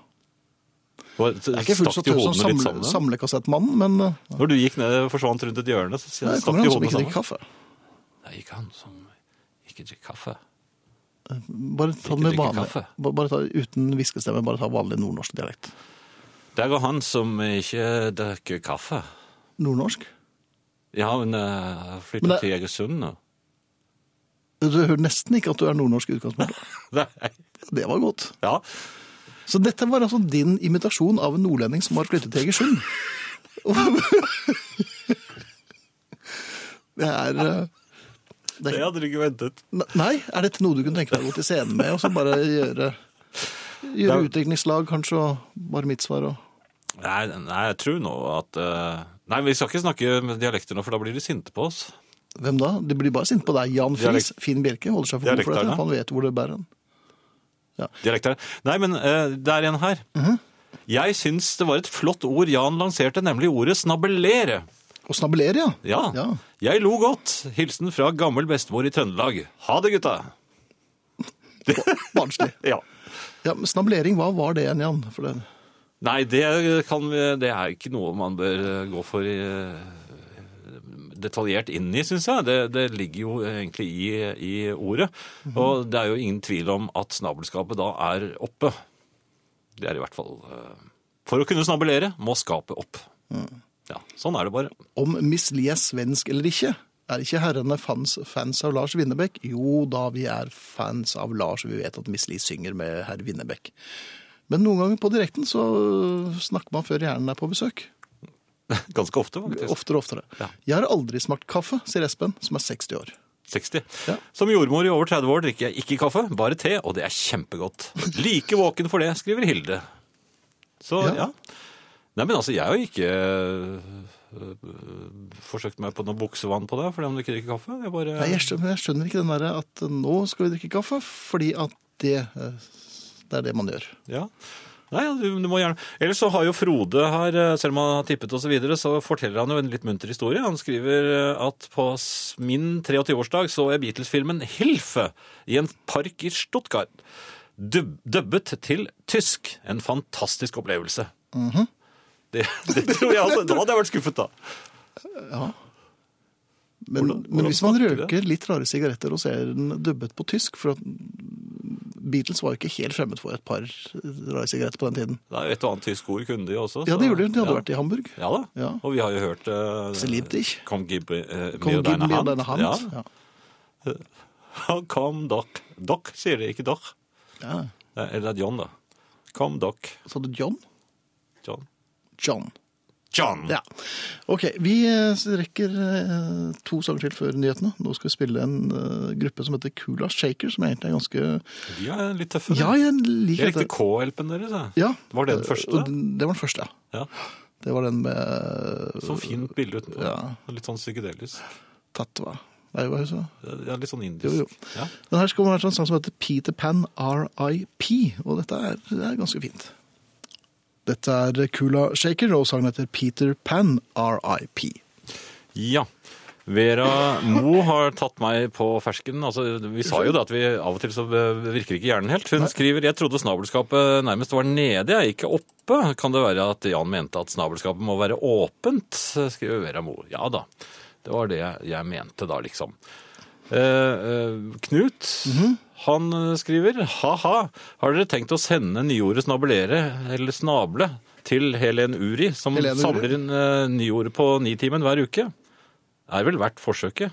B: Jeg er ikke fullt så tøff som samle, samlekassettmannen, men eh,
C: Når du gikk ned og forsvant rundt et hjørne, så
B: der
C: stakk
B: kommer
C: de
B: han som
C: hodene
B: ikke drikker
C: sammen.
B: kaffe.
C: Det gikk han som ikke drikker kaffe.
B: Bare ta det med
C: drikker
B: vanlig,
C: kaffe.
B: ba- bare ta, uten hviskestemme, bare ta vanlig nordnorsk dialekt.
C: Der går han som ikke drikker kaffe.
B: Nordnorsk?
C: Ja, men uh, flyttet
B: Men det-
C: til Egersund nå.
B: Du hører nesten ikke at du er nordnorsk i utgangspunktet.
C: Nei.
B: Det var godt.
C: Ja.
B: Så dette var altså din imitasjon av en nordlending som har flyttet til Egersund. det er eh, det er-
C: hadde du ikke ventet.
B: Nei, er dette noe du kunne tenke deg å gå til scenen med, og så bare gjøre, gjøre
C: Det
B: utdrikningslag, kanskje, og bare mitt svar og
C: Nei, nei, jeg tror nå at eh, Nei, vi skal ikke snakke med dialekter nå, for da blir de sinte på oss.
B: Hvem da? De blir bare sinte på deg. Jan Friis,
C: Dialekt-
B: Finn Bjelke, holder seg for god for
C: Dialekterne.
B: dette. for Han vet hvor det bærer han.
C: Dialekter. Nei, men eh, det er en her.
B: Mhm.
C: Jeg syns det var et flott ord Jan lanserte, nemlig ordet snabelere.
B: Og snabelere, ja.
C: Ja.
B: Ja.
C: Jeg lo godt. Hilsen fra gammel bestemor i Trøndelag. Ha det, gutta.
B: Barnslig.
C: Ja.
B: Ja, men snabelering, hva var det igjen, Jan? For det...
C: Nei, det, kan vi, det er ikke noe man bør eh, gå for eh, detaljert inn i, syns jeg. Det, det ligger jo egentlig i, i ordet. Og det er jo ingen tvil om at snabelskapet da er oppe. Det er i hvert fall eh, For å kunne snabelere må skapet opp. Ja, Sånn er det bare.
B: Om Miss Lie er svensk eller ikke? Er ikke herrene fans, fans av Lars Winnebekk? Jo da, vi er fans av Lars, og vi vet at Miss Lie synger med herr Winnebekk. Men noen ganger på direkten så øh, snakker man før hjernen er på besøk.
C: Ganske ofte, faktisk.
B: Oftere og oftere.
C: Ja.
B: Jeg har aldri smakt kaffe, sier Espen, som er 60 år.
C: 60.
B: Ja.
C: Som jordmor i over 30 år drikker jeg ikke kaffe, bare te, og det er kjempegodt. Like våken for det, skriver Hilde. Så ja.
B: Ja.
C: Nei, men altså, jeg har ikke øh, forsøkt meg på noe buksevann på deg fordi om du ikke drikker kaffe. Jeg bare,
B: Nei, jeg skjønner, jeg skjønner ikke den derre at nå skal vi drikke kaffe, fordi at det, eh, det er det man gjør.
C: Ja. Nei, ja, du, du må gjerne. Ellers så har jo Frode her, eh, selv om han har tippet og så videre, så forteller han jo en litt munter historie. Han skriver eh, at på s- min 23-årsdag så jeg Beatles-filmen Hilfe i en park i Stuttgart. Dub dubbet til tysk. En fantastisk opplevelse.
B: Mhm.
C: det, det tror jeg altså. Da hadde jeg vært skuffet, da.
B: Men,
C: Hvordan-
B: men
C: hvordan
B: hvis man
C: snakker
B: røker litt rare sigaretter og ser den dubbet på tysk For at Beatles var jo ikke helt fremmed for et par rare sigaretter på den tiden.
C: Det er jo et og annet tysk ord kunne de jo også.
B: Ja,
C: så-
B: det gjorde de. De hadde
C: ja.
B: vært i Hamburg.
C: Ja da.
B: Ja.
C: Og vi har jo hørt eh,
B: Så lieb dich.
C: Kom gib eh,
B: Kom
C: mir
B: gib
C: deine
B: mir
C: hand.
B: deine hand.
C: Ja.
B: Ja.
C: Kom dokk. Dokk sier de, ikke dokk.
B: Ja.
C: Eh, Eller det er John, da. Kom dokk.
B: Så hadde John.
C: John.
B: John.
C: John!
B: Ja. Ok, vi eh, rekker eh, to sanger til før nyhetene. Nå skal vi spille en eh, gruppe som heter Kula Shaker, som egentlig er ganske
C: De er litt tøffe.
B: Ja, jeg
C: jeg
B: liker
C: likte
B: dette.
C: K-hjelpen deres. jeg.
B: Ja.
C: Var det den første?
B: Og den- Det var den første, ja.
C: Ja.
B: Det var den med eh,
C: Sånn fint bilde utenpå.
B: Ja.
C: Litt sånn psykedelisk.
B: Tatva. Nei, hva husker jeg?
C: Ja, litt sånn indisk.
B: Jo, jo.
C: Ja.
B: Den her skal være en sang som heter Peter Pan RIP, og dette er, det er ganske fint. Dette er Kula Shaker, og sangen heter Peter Pan RIP.
C: Ja. Vera Mo har tatt meg på fersken. Altså, vi sa jo det at vi av og til så eh, virker ikke hjernen helt. Hun skriver jeg trodde snabelskapet nærmest var nede, jeg, ikke oppe. Kan det være at Jan mente at snabelskapet må være åpent? skriver Vera Mo. Ja da. Det var det jeg mente da, liksom. Eh, eh, Knut, han eh, skriver Ha-ha, har dere tenkt å sende nyordet snabelere, eller snable, til Helen Uri, som
B: Helen Uri?
C: samler inn eh, nyordet på Nitimen hver uke? Er vel verdt forsøket.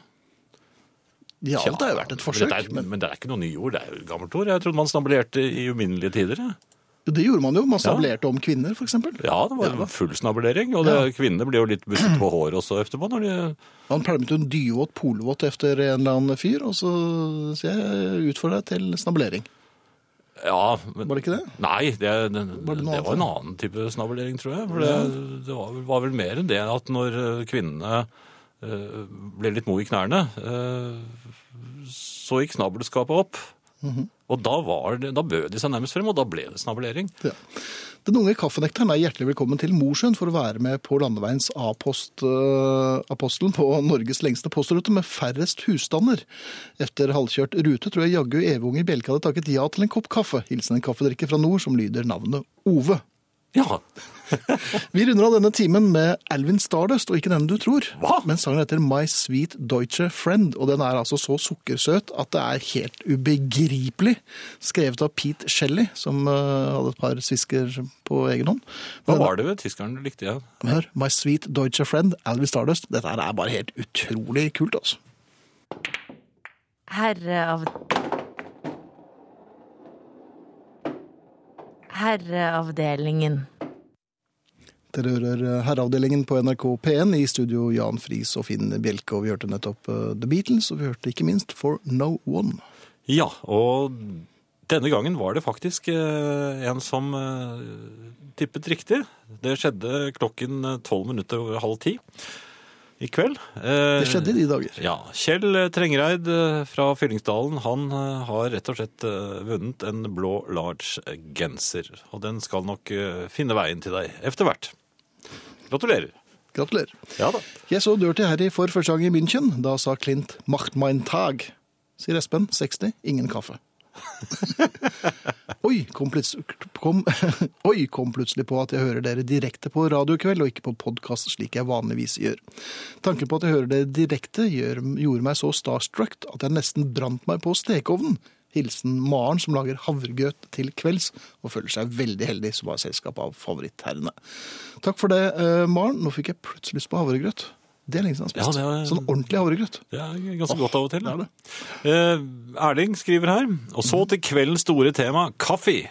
B: Ja,
C: Tja,
B: det har jo vært et
C: men
B: forsøk,
C: det er,
B: men
C: men... det er ikke noe nyord, det er jo et gammelt ord. Jeg trodde man snabelerte i uminnelige tider. jeg.
B: jo, det gjorde man jo. Man stablerte om kvinner, for eksempel.
C: Ja, det var
B: Ja.
C: full snabelering, og det, kvinnene blir jo litt busset på håret også etterpå når de
B: Man pælmet jo en dyvåt polvåt efter en eller annen fyr, og så sier jeg ut for deg til snablering.
C: Ja, men,
B: Var det ikke det?
C: Nei, det, det,
B: Var
C: var,
B: det
C: det,
B: noe annet?
C: var en annen type snabelering, tror jeg. For det, det var, vel, var vel mer enn det at når eh, kvinnene eh, ble litt mo i knærne, eh, så gikk snabelskapet opp.
B: Mhm.
C: Og da, var det, da bød de seg nærmest frem, og da ble det snabelering.
B: Ja. Den unge kaffenekteren er hjertelig velkommen til Mosjøen for å være med på landeveiens A-post, eh, apostelen på Norges lengste postrute med færrest husstander. Etter halvkjørt rute tror jeg jaggu Evung i Bjelke hadde takket ja til en kopp kaffe. Hilsen en kaffedrikker fra nord som lyder navnet Ove.
C: Ja,
B: Vi runder av denne timen med Alvin Stardust, og ikke den du tror.
C: Hva?
B: Men sangen heter My Sweet Deutsche Friend, og den er altså så sukkersøt at det er helt ubegripelig. Skrevet av Pete Shelley, som eh, hadde et par svisker på egen hånd.
C: hva var det ved tyskeren du likte igjen?
B: Men Hør, My Sweet Deutsche Friend, Alvin Stardust. Dette her er bare helt utrolig kult, altså.
D: Herre av Herreavdelingen.
B: Dere hører eh, Herreavdelingen på NRK P1 i studio Jan Friis og Finn Bjelke, og vi hørte nettopp eh, The Beatles, og vi hørte ikke minst For No One.
C: Ja, og denne gangen var det faktisk eh, en som eh, tippet riktig. Det skjedde klokken eh, tolv minutter over halv ti i kveld. Eh,
B: Det skjedde i de dager.
C: Ja, Kjell Trengereid eh, fra Fyllingsdalen han eh, har rett og slett eh, vunnet en blå large genser. Og den skal nok eh, finne veien til deg efter hvert. Gratulerer.
B: Gratulerer.
C: Ja da.
B: Jeg så Dirty Harry for første gang i München. Da sa Clint 'Macht mein Tag'. Sier Espen, 60, ingen kaffe. Oi kom, pluts- kom, oi, kom plutselig på at jeg hører dere direkte på Radio i kveld, og ikke på podkast, slik jeg vanligvis gjør. Tanken på at jeg hører dere direkte, gjør, gjorde meg så starstruck at jeg nesten brant meg på stekeovnen. Hilsen Maren, som lager havregrøt til kvelds, og føler seg veldig heldig som har selskap av favorittherrene. Takk for det, eh, Maren. Nå fikk jeg plutselig lyst på havregrøt. Det er lenge siden jeg har spist.
C: Ja, det er-
B: Sånn ordentlig havregrøt.
C: Det er ganske godt av og til.
B: det er det.
C: Eh, Erling skriver her. Og så til kveldens store tema kaffe.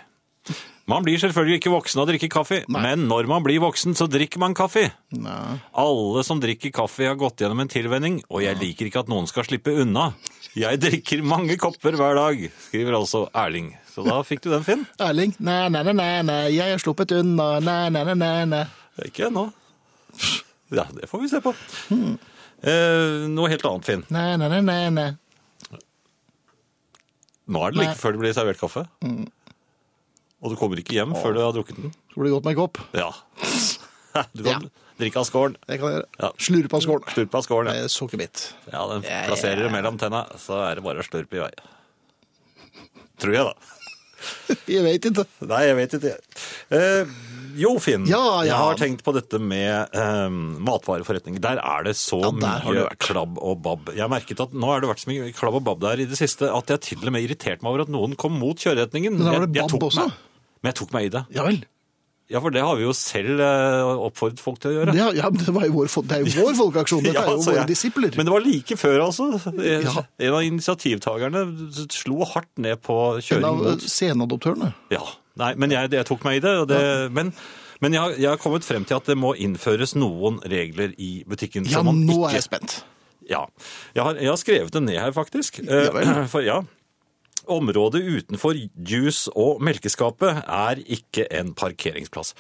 C: Man blir selvfølgelig ikke voksen av å drikke kaffe, men når man blir voksen, så drikker man kaffe.
B: Nei.
C: Alle som drikker kaffe har gått gjennom en tilvenning, og jeg liker ikke at noen skal slippe unna. Jeg drikker mange kopper hver dag, skriver altså Erling. Så da fikk du den, Finn.
B: Erling, nei, nei, nei, nei, nei, jeg har sluppet unna, nei, nei, nei, nei, nei.
C: Ikke ennå. Ja, det får vi se på. Eh, noe helt annet, Finn.
B: Nei, nei, nei, nei, nei.
C: Nå er det like
B: Nei.
C: før det blir servert kaffe. Og du kommer ikke hjem før du har drukket den.
B: Så blir det godt med en kopp.
C: Ja. Du kan drikke av skålen.
B: Det kan jeg gjøre.
C: Ja.
B: Slurpe av skålen.
C: Slurp av skålen. ja.
B: Med sukkerbit.
C: Ja, den plasserer du mellom tenna, så er det bare å slurpe i vei. Tror jeg, da.
B: Jeg vet ikke.
C: Nei, jeg vet ikke. Eh, jo, Finn.
B: Ja,
C: Jeg
B: ja.
C: har tenkt på dette med eh, matvareforretninger. Der er det så
B: Ja, der har
C: mye
B: det vært.
C: klabb og babb. Jeg merket at nå har det vært så mye klabb og babb der i det siste at jeg til og med irriterte meg over at noen kom mot kjøreretningen.
B: Men da var
C: Jeg-
B: det
C: jeg
B: babb
C: tok
B: også?
C: Meg, men jeg tok meg i det.
B: Ja vel.
C: Ja, for det har vi jo selv eh, oppfordret folk til å gjøre.
B: Det, har- ja, men det, var jo vår, fol- det er jo vår folkeaksjon. Dette er
C: Ja,
B: jo
C: altså,
B: våre
C: jeg-
B: disipler.
C: Men det var like før, altså. En-
B: Ja.
C: En av initiativtakerne slo hardt ned på
B: En
C: kjøring
B: av eh,
C: mot
B: senadoptørene.
C: Ja. Nei, men jeg, jeg tok meg i det. Og det Men, men jeg, har, jeg har kommet frem til at det må innføres noen regler i butikken.
B: Ja,
C: som man
B: nå
C: ikke,
B: er jeg spent.
C: Ja. Jeg har, jeg har skrevet det ned her, faktisk. Eh,
B: Ja vel.
C: For ja. Området utenfor juice- og melkeskapet er ikke en parkeringsplass.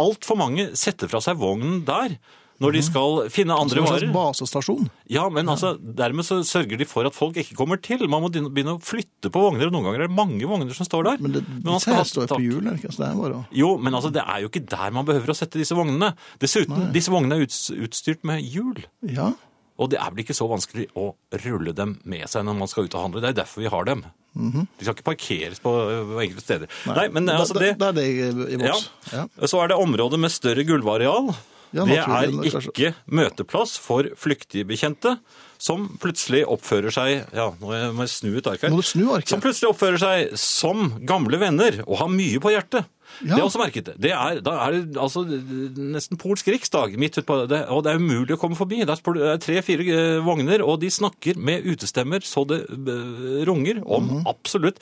C: Altfor mange setter fra seg vognen der når de skal finne andre
B: Mhm. Som en
C: varer.
B: slags basestasjon.
C: Ja, men altså, dermed så sørger de for at folk ikke kommer til. Man må begynne å flytte på vogner, og noen ganger er det mange vogner som står der.
B: Men det,
C: man
B: disse
C: skal ha
B: her står jo
C: tak-
B: på hjul, er det ikke? Så det er bare å
C: Jo, men altså, det er jo ikke der man behøver å sette disse vognene. Dessuten, disse vognene er uts- utstyrt med hjul.
B: Ja.
C: Og det er vel ikke så vanskelig å rulle dem med seg når man skal ut og handle. Det er derfor vi har dem. De skal ikke parkeres på ø, enkelte steder. Nei, men
B: Mhm. Da-
C: altså, det...
B: Da da er det i i
C: Ja.
B: boks. Ja.
C: Så er det området med større gulvareal.
B: Ja,
C: det er
B: naturlig, altså. kanskje.
C: ikke møteplass for flyktige bekjente som plutselig oppfører seg Ja, nå må jeg snu et ark her.
B: Må du snu arket?
C: Som plutselig oppfører seg som gamle venner og har mye på hjertet.
B: Ja.
C: Det har jeg også merket. Det er, da er det altså nesten polsk riksdag midt utpå det, og det er umulig å komme forbi. Der står det det er tre-fire eh, vogner, og de snakker med utestemmer så det eh, runger om
B: Mhm.
C: absolutt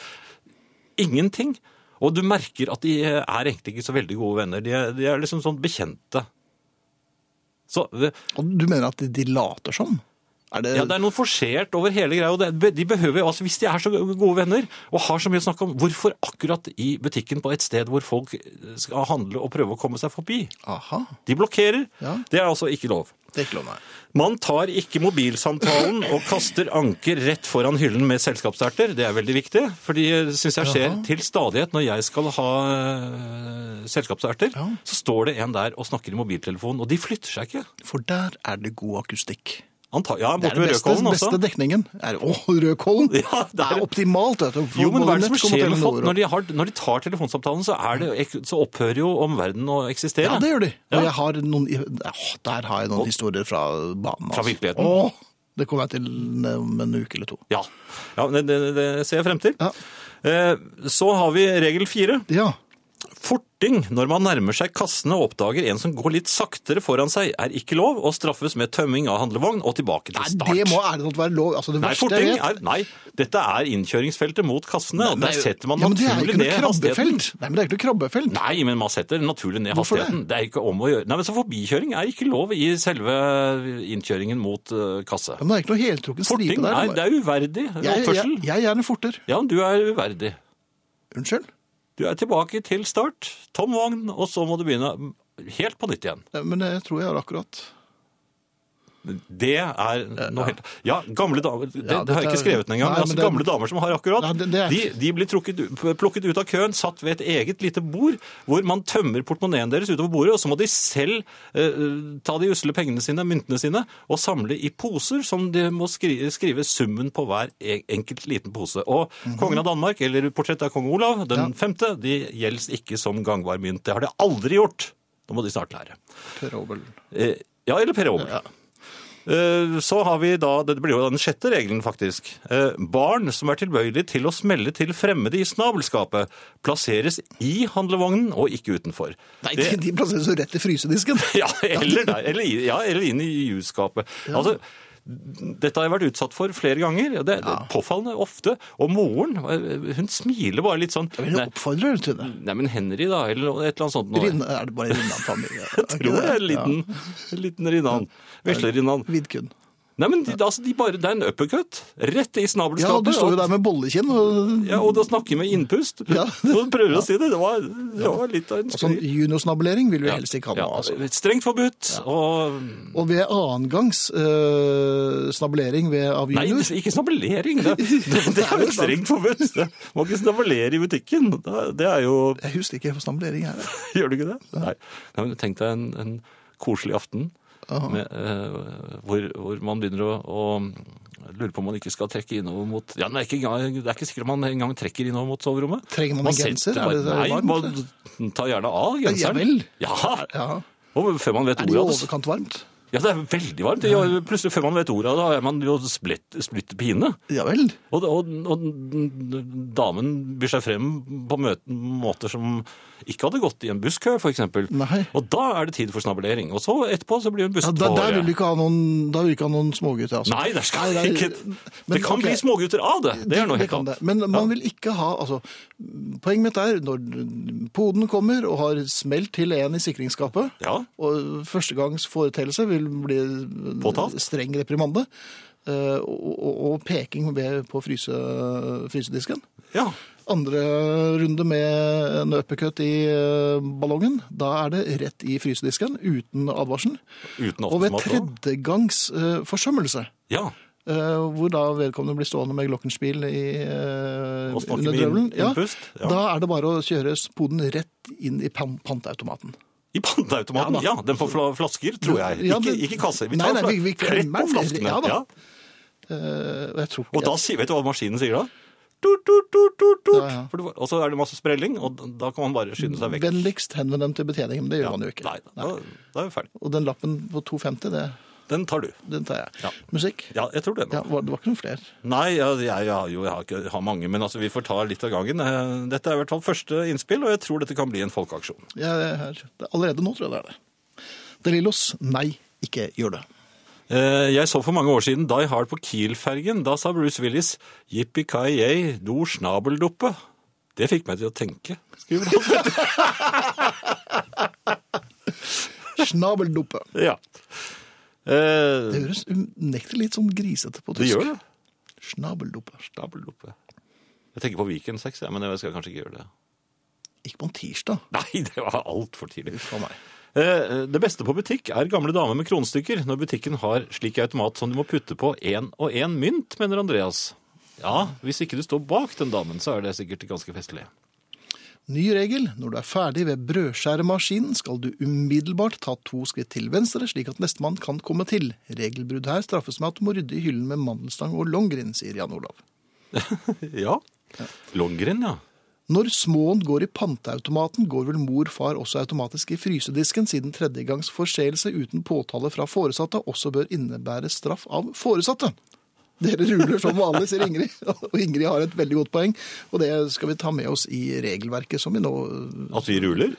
C: ingenting. Og du merker at de er egentlig ikke så veldig gode venner. De er, de er liksom sånn bekjente. Så eh,
B: Og du mener at de, de later som? Er det,
C: ja, Det er noe forsert over hele greia. og det, de behøver, jo- altså Hvis de er så gode venner og har så mye å snakke om, hvorfor akkurat i butikken på et sted hvor folk eh, skal handle og prøve å komme seg forbi?
B: Aha.
C: De blokkerer.
B: Ja.
C: Det er altså ikke lov.
B: Det er ikke lov, nei.
C: Man tar ikke mobilsamtalen og kaster anker rett foran hyllen med selskapssterter. Det er veldig viktig, for det syns jeg skjer til stadighet når jeg skal ha øh, selskapssterter.
B: Ja.
C: Så står det en der og snakker i mobiltelefonen, og de flytter seg ikke.
B: For der er det god akustikk.
C: Anta ja,
B: Det er
C: borte
B: den
C: ved
B: beste,
C: Rødkollen altså. også.
B: beste dekningen. Er, å, Rødkollen!
C: Ja, det
B: det
C: er-
B: er optimalt, vet du. For
C: Jo, men
B: både
C: hva er det som
B: nett kommer
C: skjer med folk?
B: Telenor og-
C: Når de, har, når de tar telefonsamtalen, så, er det, så opphører jo omverdenen å eksistere.
B: Ja, det gjør de. Og
C: Ja.
B: jeg har noen, Åh, der har jeg noen historier fra banen. altså.
C: Fra virkeligheten.
B: Åh, det kommer jeg til om en uke eller to.
C: Ja, ja men det, det, det ser jeg frem til.
B: Ja.
C: Eh, Så har vi regel fire.
B: Ja,
C: Forting når man nærmer seg kassene og oppdager en som går litt saktere foran seg, er ikke lov og straffes med tømming av handlevogn og tilbake til
B: Nei,
C: start.
B: det må ærlig talt være lov. Altså, det
C: Nei,
B: verste
C: forting
B: jeg vet...
C: er, nei, dette er innkjøringsfeltet mot kassene, og der setter man
B: ja, men det er jo
C: naturlig
B: ikke
C: ned
B: noe
C: hastigheten.
B: krabbefelt. Nei, men det er ikke noe krabbefelt.
C: Nei, men man setter naturlig ned
B: Hvorfor det?
C: hastigheten. Det? er ikke om å gjøre. Nei, men så forbikjøring er ikke lov i selve innkjøringen mot eh, kasse.
B: Ja, men det er ikke noe heltrukken stripe
C: Forting,
B: der.
C: nei, det er uverdig
B: jeg, jeg,
C: oppførsel.
B: jeg er en forter.
C: Ja, men du er uverdig.
B: Unnskyld.
C: Du er tilbake til start, tom vogn, og så må du begynne helt på nytt igjen.
B: Ja, Men jeg tror jeg har akkurat
C: Det er noe helt Ja, gamle damer Det,
B: Eh, Ja,
C: det har jeg
B: dette
C: ikke
B: er-
C: skrevet ned engang.
B: Nei,
C: men
B: men
C: altså,
B: det-
C: gamle damer som har akkurat,
B: Nei, det- det er-
C: de, de blir trukket, u- plukket ut av køen, satt ved et eget lite bord, hvor man tømmer portemoneen deres utover bordet, og så må de selv eh, ta de usle pengene sine, myntene sine, og samle i poser som de må skrive, skrive summen på hver e- enkelt liten pose. Og
B: Mhm.
C: kongen av Danmark, eller portrettet av kong Olav den femte, de gjelder ikke som gangbar mynt. Det har de aldri gjort. Nå må de snart lære.
B: Per Obel.
C: Eh, Ja, eller Per Obel. Eh, Så har vi da, det blir jo den sjette regelen faktisk, Eh, barn som er tilbøyelig til å smelle til fremmede i snabelskapet, plasseres i handlevognen og ikke utenfor.
B: Nei, de,
C: Det-
B: de plasseres jo rett i frysedisken.
C: ja, eller, der, eller, i- ja, eller inn i jusskapet. Altså, dette har jeg vært utsatt for flere ganger, og det, det er påfallende ofte. Og moren, eh, hun smiler bare litt sånn.
B: Men
C: Nei,
B: jeg oppfordrer deg til det.
C: nei, men Henry da, eller et eller annet sånt. nå.
B: Rinne, er det bare Rinnan-familie?
C: Jeg tror jeg er en liten, en liten rinnan. Vesle rinnan.
B: Vidkun.
C: Nei, men de, altså, de bare, det er en uppercut. Rett i
B: Ja,
C: snabelskapet.
B: du står jo
C: og-
B: der med bollekinn. Og,
C: Ja, og da snakker jeg med innpust.
B: Ja.
C: Og prøver å si det. Det var, det var litt av en
B: og sånn
C: skri.
B: juniorsnabulering vil vi helst ikke ha
C: Ja, altså.
B: noe av. Altså.
C: Strengt forbudt. Og
B: Og ved annengangs øh, snabulering ved, av
C: Nei,
B: junior
C: ikke snabelering! Det, det, det er jo strengt forbudt! Det- Må ikke snabelere i butikken. Det- Det er jo
B: Jeg husker ikke hva snabulering er.
C: Gjør du ikke det? Nei. Nei men tenk deg en, en koselig aften med, eh, hvor, hvor man begynner å, å lure på om man ikke skal trekke innover mot ja, det, er ikke, engang- det er ikke sikkert man engang trekker innover mot soverommet.
B: Trenger man en genser?
C: setter
B: Er det- er det
C: bare, nei, man tar gjerne av
B: Ja,
C: genseren.
B: vel.
C: Ja,
B: Ja.
C: Og før man vet
B: Er det i
C: ordet av det.
B: overkant varmt?
C: Ja, det er veldig varmt. Ja, plutselig før man vet ordet av det, er man jo splitt, splitt pine.
B: Ja vel.
C: Og, og, og damen byr seg frem på møten, måter som ikke hadde gått i en busskø, for eksempel.
B: Nei.
C: Og da er det tid for snabelering. Og så etterpå så blir hun
B: Ja,
C: busset
B: der,
C: på
B: der vil du
C: håret.
B: ikke ha noen, da vil du ikke ha noen smågutter, altså.
C: Nei, der skal
B: Nei,
C: ikke...
B: men
C: det kan
B: ok.
C: bli smågutter av det. Det er noe helt
B: kan det.
C: annet.
B: Men man vil ikke ha altså, Poenget mitt er når poden kommer og har smelt til en i sikringsskapet
C: Ja.
B: Og førstegangs foreteelse vil bli
C: Påtalt?
B: streng reprimande. eh, Og, og, og peking ved- på fryse, frysedisken.
C: Ja.
B: Andre runde med en uppercut i eh, ballongen. Da er det rett i frysedisken uten advarsel.
C: Uten
B: Og ved
C: aftensmat. da.
B: tredjegangs eh, forsømmelse,
C: Ja.
B: eh, hvor da vedkommende blir stående med glockenspiel i, eh,
C: Og snakke
B: under
C: med inn-
B: drøvelen, ja,
C: innpust, ja.
B: da er det bare å kjøre poden rett inn i pan- panteautomaten.
C: I
B: Ja, da.
C: panteautomaten. Ja, den får fla- flasker, tror jeg.
B: Ja,
C: Ikke,
B: det-
C: ikke kasser. Vi
B: Nei,
C: tar
B: nei,
C: fla-
B: vi- vi
C: rett
B: klemmer
C: på
B: den.
C: flaskene.
B: Ja, da.
C: Ja.
B: Eh, og jeg tror ikke
C: Og da sier, vet du hva maskinen sier da? Tut, tut, tut, tut, tut.
B: Ja, ja.
C: For det var- Og så er det masse sprelling, og da kan man bare skynde seg vekk.
B: Vennligst henvend dem til betjeningen, men det gjør
C: Ja,
B: han jo ikke.
C: Nei, da, da er vi ferdig.
B: Og den lappen på 2,50, det,
C: Den tar du.
B: den tar jeg.
C: Ja.
B: Musikk?
C: Ja, jeg tror det.
B: Ja, var, det var ikke noen flere.
C: Nei, ja, jeg, jeg, har jo, jeg har ikke jeg har mange, men altså, vi får ta litt av gangen. Eh, Dette er i hvert fall første innspill, og jeg tror dette kan bli en folkeaksjon.
B: Jeg, jeg, her. Det er allerede nå tror jeg det er det. De Lillos, nei, ikke gjør det.
C: Eh, Jeg så for mange år siden Die Hard på Kiel-fergen. Da sa Bruce Willis «Yippee-ki-yay, do snabelduppe». Det fikk meg til å tenke. Skriver han.
B: Snabelduppe.
C: Ja.
B: Det
C: Eh,
B: høres unektelig litt sånn grisete på tysk.
C: det gjør det.
B: Snabelduppe.
C: Snabelduppe. Jeg tenker på Viken 6, ja, men jeg skal kanskje ikke gjøre det.
B: Ikke på en tirsdag.
C: Nei, det var altfor tidlig.
B: Uff a meg.
C: Eh, Det beste på butikk er gamle damer med kronestykker, når butikken har slik automat som du må putte på én og én mynt, mener Andreas. Ja, hvis ikke du står bak den damen, så er det sikkert ganske festlig.
B: Ny regel. Når du er ferdig ved brødskjæremaskinen, skal du umiddelbart ta to skritt til venstre, slik at nestemann kan komme til. Regelbrudd her straffes med at du må rydde i hyllen med mandelstang og longrin, sier Jan Olav.
C: Ja. Longrenn, ja.
B: Når småen går i panteautomaten, går vel mor far også automatisk i frysedisken, siden tredjegangs forseelse uten påtale fra foresatte også bør innebære straff av foresatte. Dere ruler som vanlig, sier Ingrid. Og Ingrid har et veldig godt poeng, og det skal vi ta med oss i regelverket som vi nå
C: At vi ruler?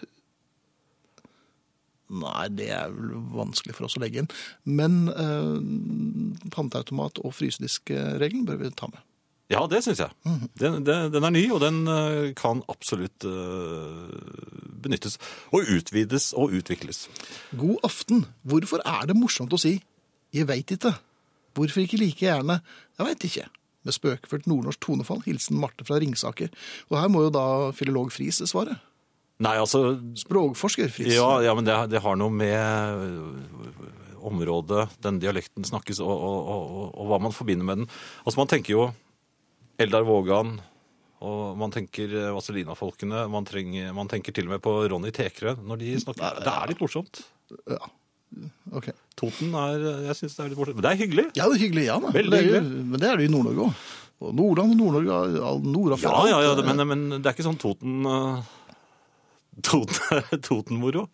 B: Nei, det er vel vanskelig for oss å legge inn. Men eh, panteautomat- og frysediskregelen bør vi ta med.
C: Ja, det syns jeg. Den, den, den er ny, og den eh, kan absolutt eh, benyttes. Og utvides og utvikles.
B: God aften. Hvorfor er det morsomt å si 'jeg veit ikke'? Hvorfor ikke like gjerne 'jeg veit ikke'? Med spøkefullt nordnorsk tonefall. Hilsen Marte fra Ringsaker. Og her må jo da filolog Friis svare.
C: Nei, altså
B: Språkforsker Friis.
C: Ja, ja men det, det har noe med øh, området den dialekten snakkes, og, og, og, og hva man forbinder med den. Altså, man tenker jo Eldar Vågan, og man tenker eh, Vazelina-folkene, man, trenger- man tenker til og med på Ronny Tekre når de snakker. Det er litt morsomt.
B: Ja. Ok.
C: Toten er eh, Jeg syns det er litt morsomt. Men det er hyggelig.
B: Ja, det er hyggelig. Ja, da.
C: Veldig
B: det er jo,
C: hyggelig.
B: men det er det jo i Nord-Norge òg. Og Nordland og Nord-Norge all- all- Nord
C: Ja, ja, ja, det- men, men det er ikke sånn Toten eh, Toten- Toten-moro.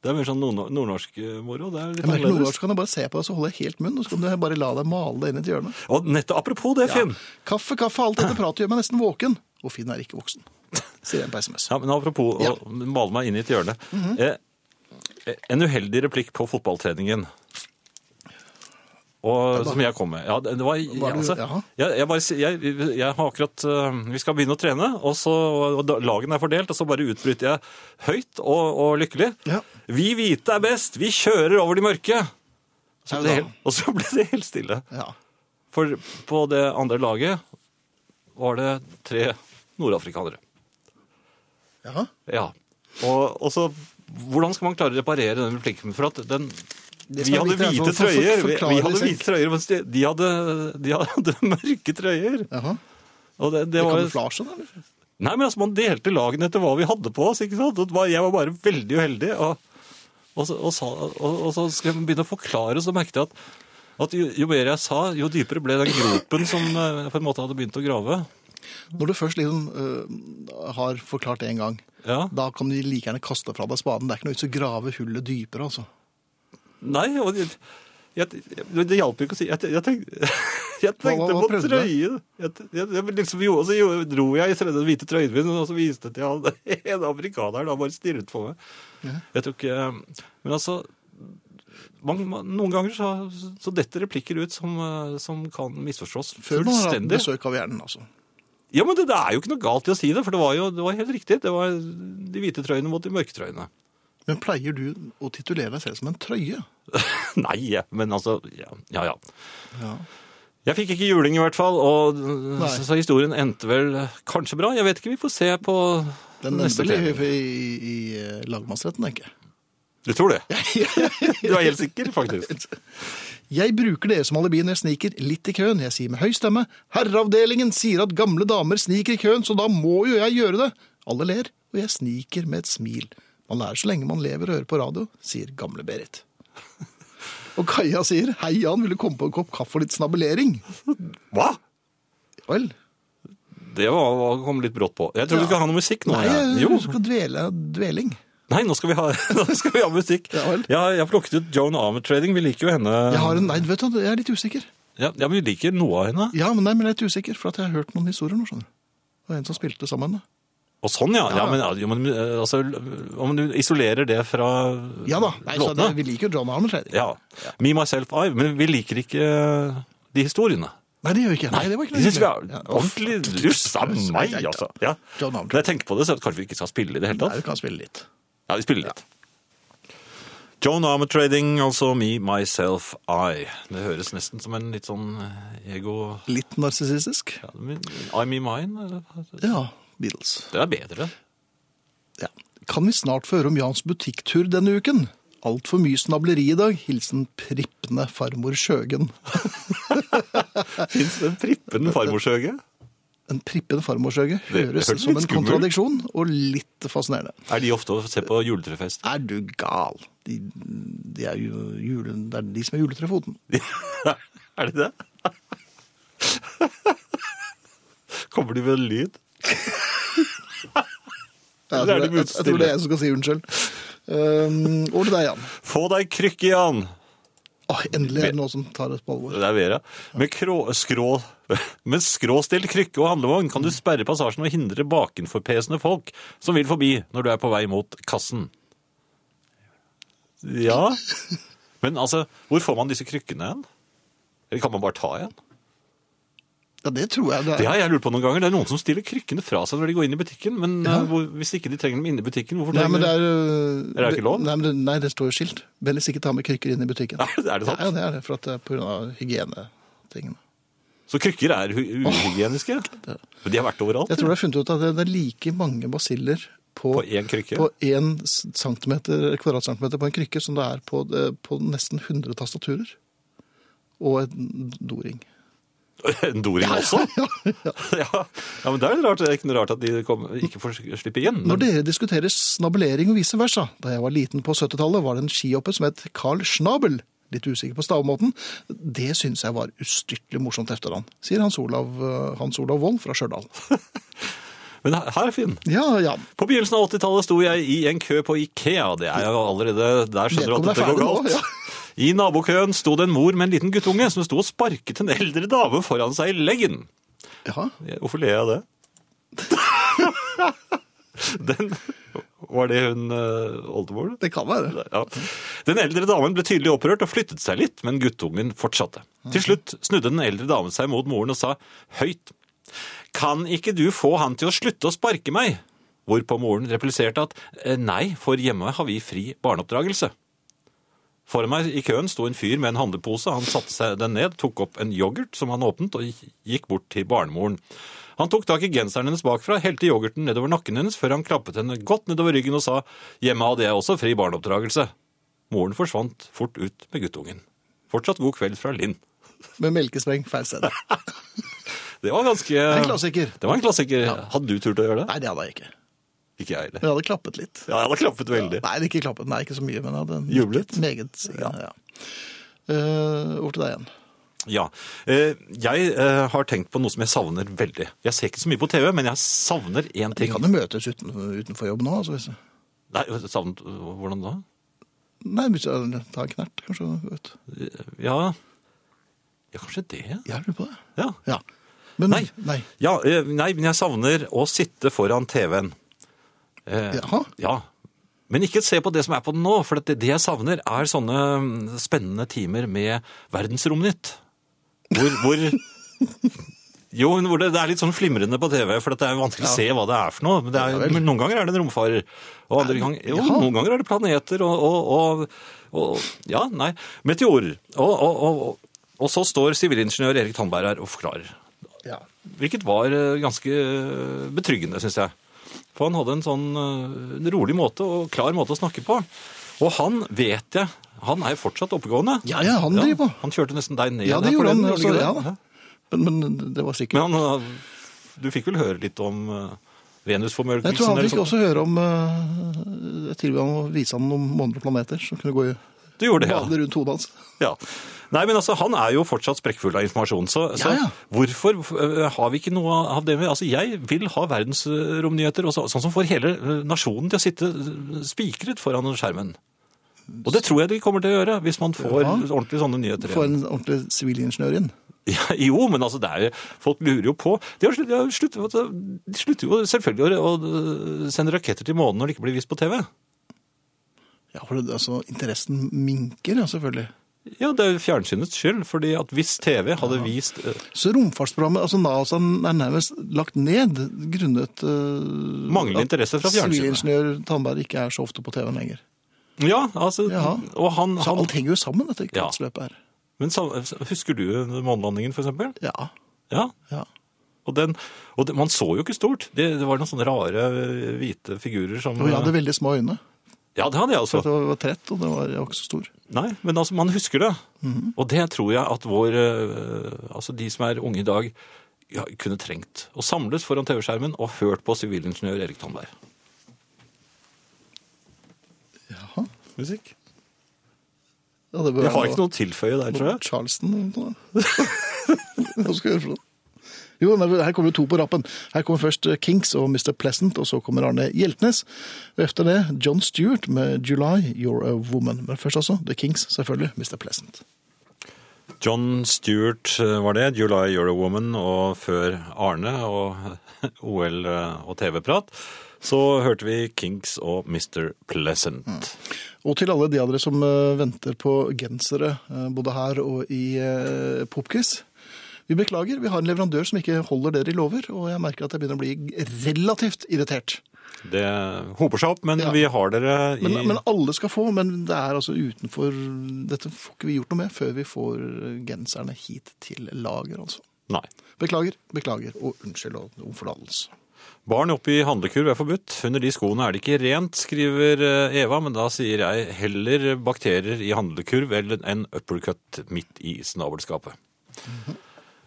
C: det er mer sånn nordno- nordnorsk-moro. Det er litt
B: Jeg merker
C: annerledes.
B: Nordnorsk kan jeg bare se på deg, så holder jeg helt munn, og så kan du bare la deg male deg inn i et hjørne.
C: Og nettopp apropos det, Finn.
B: Kaffe, kaffe, alt dette pratet gjør meg nesten våken. Og Finn er ikke voksen, sier en på SMS.
C: Ja, men apropos
B: Ja. Mhm.
C: å male meg inn i et hjørne. eh, en uheldig replikk på fotballtreningen. Og, som jeg kom med. Ja, det det var,
B: Var du-
C: altså,
B: jaha.
C: jeg, jeg, bare, si- jeg, jeg har akkurat eh, Vi skal begynne å trene, og, så, og da- lagene er fordelt, og så bare utbryter jeg høyt og, og lykkelig.
B: Ja.
C: Vi hvite er best! Vi kjører over de mørke! Så ble det helt, og så ble det helt stille.
B: Ja.
C: For på det andre laget var det tre nordafrikanere.
B: ja.
C: Ja. Og, og så Hvordan skal man klare å reparere den replikken? For at den
B: Det som
C: Vi
B: er
C: hadde
B: viktig er
C: hvite
B: sånn for- for-
C: trøyer, vi,
B: forklare
C: vi hadde
B: seg.
C: hvite trøyer, mens de, de, hadde, de hadde mørke trøyer.
B: Jaha.
C: Og det, det
B: Det
C: var,
B: Kamuflasje, da? eller?
C: nei, men altså, Man delte lagene etter hva vi hadde på oss. ikke sant? Det var- Jeg var bare veldig uheldig. Og, og, så, og, sa, og, og så skal jeg begynne å forklare, så merket jeg at, at jo, jo mer jeg sa, jo dypere ble den gropen som eh, jeg på en måte hadde begynt å grave.
B: Når du først liksom øh, har forklart det en gang,
C: Ja.
B: da kan du like gjerne kaste fra deg spaden. Det er ikke noe vits å grave hullet dypere, altså.
C: Nei, og jeg, jeg, men det hjalp jo ikke å si Jeg, jeg, tenkte, jeg tenkte
B: Hva- hva- hva
C: på
B: prøvde du?
C: trøyen. Jeg, jeg, jeg, liksom, jo, og så jo, dro jeg i den hvite trøyen min, og så viste jeg til han en amerikaner. Han bare stirret på meg. Jeg tror ikke Men altså man, man, Noen ganger så, så detter replikker ut som, eh, som kan misforstås
B: Før man har hatt
C: fullstendig.
B: besøk av hjernen, altså.
C: Ja, men det, det er jo ikke noe galt i å si det, for det var jo det var helt riktig. Det var de hvite trøyene mot de mørke trøyene.
B: Men pleier du å titulere deg selv som en trøye?
C: Nei, men altså Ja, ja. ja.
B: Ja.
C: Jeg fikk ikke juling i hvert fall, og
B: Nei.
C: så, så historien endte vel kanskje bra. Jeg vet ikke, vi får se på
B: Den
C: neste
B: endte vel
C: trening.
B: i, i, i eh, lagmannsretten, tenker jeg.
C: Du tror det? Du er helt sikker, faktisk.
B: Jeg bruker dere som alibi når jeg sniker litt i køen. Jeg sier med høy stemme. Herreavdelingen sier at gamle damer sniker i køen, så da må jo jeg gjøre det. Alle ler, og jeg sniker med et smil. Man lærer så lenge man lever og hører på radio, sier gamle-Berit. Og Kaja sier hei, Jan, vil du komme på en kopp kaffe og litt snabelering?
C: Hva?
B: Ja Vel?
C: Det var, var, kom litt brått på. Jeg tror vi skal ha noe musikk nå.
B: Nei,
C: jeg.
B: jeg
C: Jo.
B: skal dvele dveling.
C: Nei, nå skal vi ha, nå skal vi ha musikk.
B: Ja vel.
C: jeg, har- jeg har plukket ut Joan Armatrading. Vi liker jo henne.
B: Jeg har en, nei, vet du, jeg er litt usikker.
C: Ja, ja, men vi liker noe av henne.
B: Ja, men nei, men jeg er litt usikker, for at jeg har hørt noen historier nå, skjønner du. Det var en som spilte sammen med henne.
C: Og sånn, ja. ja,
B: Ja.
C: men, ja, jo, men eh, altså, om du isolerer det fra
B: Ja da, nei, så det,
C: låtene.
B: vi liker jo John Armstrong.
C: Ja. Me, myself, I. Men vi liker ikke eh, de historiene.
B: Nei, det gjør vi ikke. Nei, det var ikke
C: Det synes vi er
B: hyggelig. Ja, uff.
C: ordentlig russa meg, altså. Ja.
B: John
C: Når
B: Armstrong.
C: jeg tenker på det, så kanskje vi ikke skal spille i det hele
B: Nei,
C: tatt.
B: vi kan spille litt.
C: Ja, vi spiller litt. Joan Armatrading, altså Me, Myself, I. Det høres nesten som en litt sånn ego...
B: Litt narsissistisk?
C: Ja, men I, me, mine.
B: Ja, Beatles.
C: Det er bedre.
B: Ja. Kan vi snart få høre om Jans butikktur denne uken? Altfor mye snableri i dag. Hilsen prippende farmor Sjøgen.
C: Fins den prippen farmorshøge?
B: En prippende farmor Sjøgen
C: Det
B: høres
C: hørtes
B: som
C: litt
B: en
C: skummelt.
B: kontradiksjon, og litt fascinerende.
C: Er de ofte å se på juletrefest?
B: Er du gal? De, de er jo julen, det er de som er juletrefoten.
C: er det det? Kommer de med en lyd?
B: Jeg
C: Eller er
B: tror,
C: de
B: det, jeg, jeg tror det er jeg som skal si unnskyld. Um, over til deg, Jan.
C: Få deg krykke, Jan!
B: Åh, Ah, endelig er det noen som tar det på alvor.
C: Det er Vera. Med, krå, skrå, med skråstilt krykke og handlevogn kan du sperre passasjen og hindre bakenforpesende folk som vil forbi når du er på vei mot kassen. Ja. Men altså, hvor får man disse krykkene hen? Eller kan man bare ta en?
B: Ja, det tror jeg det
C: Det
B: er.
C: har jeg lurt på noen ganger. Det er noen som stiller krykkene fra seg når de går inn i butikken, men eh, hvor, hvis ikke de trenger dem inne i butikken, hvorfor
B: Nei, men
C: trenger
B: det
C: de
B: er,
C: Er det ikke lov?
B: Nei, men det, nei, det står jo skilt. Vennligst ikke ta med krykker inn i butikken.
C: Nei, er det sant?
B: Ja, det er det, for at det er på grunn av hygienetingene.
C: Så krykker er hu- uhygieniske? Men de har vært overalt.
B: Jeg tror det er funnet ut at det, det er like mange basiller på,
C: På én krykke?
B: på en s- centimeter, kvadratcentimeter på en krykke som det er på, eh, på nesten 100 tastaturer. Og en doring.
C: En doring også? ja. ja, men det er litt rart. Det er ikke noe rart at de kom, ikke får slippe igjen.
B: Når
C: Men
B: dere diskuterer snabelering og vice versa, da jeg var liten på 70-tallet, var det en skihoppe som het Carl Schnabel. Litt usikker på stavmåten. Det syns jeg var ustyrtelig morsomt efter han, sier Hans Olav, eh, Hans Olav Wold fra Stjørdal.
C: men her, Finn.
B: Ja, Jan.
C: På begynnelsen av 80-tallet sto jeg i en kø på Ikea. Det er jo allerede Der skjønner du
B: Vedkommende
C: at
B: er
C: dette går
B: ferdig nå,
C: galt.
B: ja.
C: I nabokøen sto det en mor med en liten guttunge som sto og sparket en eldre dame foran seg i leggen.
B: Ja,
C: Hvorfor ler jeg av det? Den Var det hun eh, oldemor?
B: det kan være.
C: Ja. Den eldre damen ble tydelig opprørt og flyttet seg litt, men guttungen fortsatte. Til slutt snudde den eldre damen seg mot moren og sa høyt Kan ikke du få han til å slutte å sparke meg? Hvorpå moren repliserte at «Eh, nei, for hjemme har vi fri barneoppdragelse. Foran meg i køen sto en fyr med en handlepose. Han satte seg den ned, tok opp en yoghurt som han åpnet, og gikk bort til barnemoren. Han tok tak i genseren hennes bakfra, helte yoghurten nedover nakken hennes før han klappet henne godt nedover ryggen og sa hjemme hadde jeg også fri barneoppdragelse. Moren forsvant fort ut med guttungen. Fortsatt god kveld fra Linn.
B: Med melkespreng feil sted. Det
C: Det var ganske
B: er en klassiker.
C: Det var en klassiker. Hadde du turt å gjøre det?
B: Nei, det hadde jeg ikke.
C: Ikke jeg heller.
B: Men jeg hadde klappet litt.
C: Ja, jeg hadde klappet veldig.
B: Nei, ikke klappet. Nei, ikke så mye, men jeg hadde
C: Jublet?
B: Meget. Ja. Eh, over til deg igjen.
C: Ja. Eh, Jeg eh, har tenkt på noe som jeg savner veldig. Jeg ser ikke så mye på TV, men jeg savner én
B: Vi
C: ting.
B: kan jo møtes uten, utenfor jobb nå. Altså, hvis...
C: Nei, savnet Hvordan da?
B: Nei, hvis jeg tar en knert, kanskje. Vet. du.
C: Ja Ja, kanskje det?
B: Jeg lurer på det.
C: Ja.
B: Ja. Men,
C: Nei.
B: nei.
C: ja eh, nei, men jeg savner å sitte foran TV-en. Eh,
B: Jaha.
C: Ja. Men ikke se på det som er på den nå, for det, det jeg savner, er sånne mm, spennende timer med Verdensromnytt. Hvor, hvor Jo, men hvor det, det er litt sånn flimrende på TV, for at det er vanskelig å se hva det er for noe. Men, det er, men noen ganger er det en romfarer, og andre gang, jo,
B: jaha.
C: noen ganger er det planeter og, og, og, og Ja, nei. Meteorer. Og, og, og, og, og så står sivilingeniør Erik Tandberg her og forklarer.
B: Ja.
C: Hvilket var eh, ganske eh, betryggende, syns jeg. For han hadde en sånn eh, en rolig måte og klar måte å snakke på. Og han vet jeg Han er jo fortsatt oppegående.
B: Ja, ja, han driver på.
C: Han kjørte nesten deg ned.
B: Ja, det
C: her
B: gjorde
C: forleden,
B: han.
C: gjorde
B: Altså, ja,
C: ikke det?
B: da. men, men det var sikkert
C: Men han, eh, du fikk vel høre litt om eh, venusformørkelsen?
B: Jeg tror han
C: eller
B: fikk
C: sånt.
B: også høre om eh, Jeg tilbød ham å vise ham noen måneder og planeter som kunne gå i
C: sånn? Du gjorde det, ja.
B: bade rundt hodet hans.
C: Ja. Nei, men altså, Han er jo fortsatt sprekkfull av informasjon, så,
B: Ja,
C: så
B: ja.
C: hvorfor øh, har vi ikke noe av det? med? Altså, Jeg vil ha verdensromnyheter, og så, sånn som får hele øh, nasjonen til å sitte øh, spikret foran skjermen. Og det tror jeg de kommer til å gjøre, hvis man får
B: Ja.
C: ordentlig sånne nyheter.
B: Få
C: igjen.
B: en ordentlig sivilingeniør inn.
C: Ja, jo, men altså, det er, jo- folk lurer jo på. De, har slutt, de, har slutt, de slutter jo selvfølgelig å, å øh, sende raketter til månen når det ikke blir vist på TV.
B: Ja, for det, altså, interessen minker, ja, selvfølgelig.
C: Ja, Det er jo fjernsynets skyld, fordi at hvis TV hadde vist øh,
B: Så romfartsprogrammet, altså NASA, er nærmest lagt ned grunnet uh,
C: Manglende interesse fra fjernsynet.
B: Sivilingeniør Tandberg ikke er så ofte på TV-en lenger.
C: Ja, altså,
B: Ja.
C: og han,
B: Så
C: han
B: alt henger jo sammen, dette
C: Sånn. Ja.
B: kretsløpet her.
C: Men sam- husker du månelandingen, for eksempel?
B: Ja.
C: Ja.
B: ja.
C: Og, den, og det, man så jo ikke stort. Det, det var noen sånne rare eh, hvite figurer som
B: Og jeg hadde veldig små øyne.
C: Ja, det hadde jeg også.
B: For at jeg var trett, og det var, jeg var ikke så stor.
C: Nei, men altså, man husker det. Og det tror jeg at vår eh, Altså, de som er unge i dag, ja, kunne trengt. Å samles foran TV-skjermen og hørt på sivilingeniør Erik Tandberg.
B: Jaha.
C: Musikk.
B: Ja, det bør
C: Jeg har
B: være
C: ikke noe å tilføye der, tror jeg.
B: Charleston eller noe. Hva skal jeg gjøre for noe? Jo, nei, Her kommer det to på rappen. Her kommer først eh, Kinks og Mr. Pleasant, og så kommer Arne Hjeltnes. Og etter det John Stewart med 'July You're a Woman'. Men først altså The Kinks, selvfølgelig. Mr. Pleasant.
C: John Stewart eh, var det, July You're a Woman, og før Arne og OL og TV-prat, så hørte vi Kinks og Mr. Pleasant.
B: Og til alle de av dere som eh, venter på gensere, eh, både her og i eh, Popquiz. Vi beklager, vi har en leverandør som ikke holder dere i lover, og jeg merker at jeg begynner å bli relativt irritert.
C: Det hoper seg opp, men
B: Ja.
C: vi har dere i
B: Men, men alle skal få, men det er altså utenfor Dette får ikke vi gjort noe med før vi får eh, genserne hit til lager, altså.
C: Nei.
B: Beklager, beklager, og unnskyld og om forlatelse.
C: Barn oppi handlekurv er forbudt. Under de skoene er det ikke rent, skriver eh, Eva, men da sier jeg heller bakterier i handlekurv eller en uppercut midt i snabelskapet.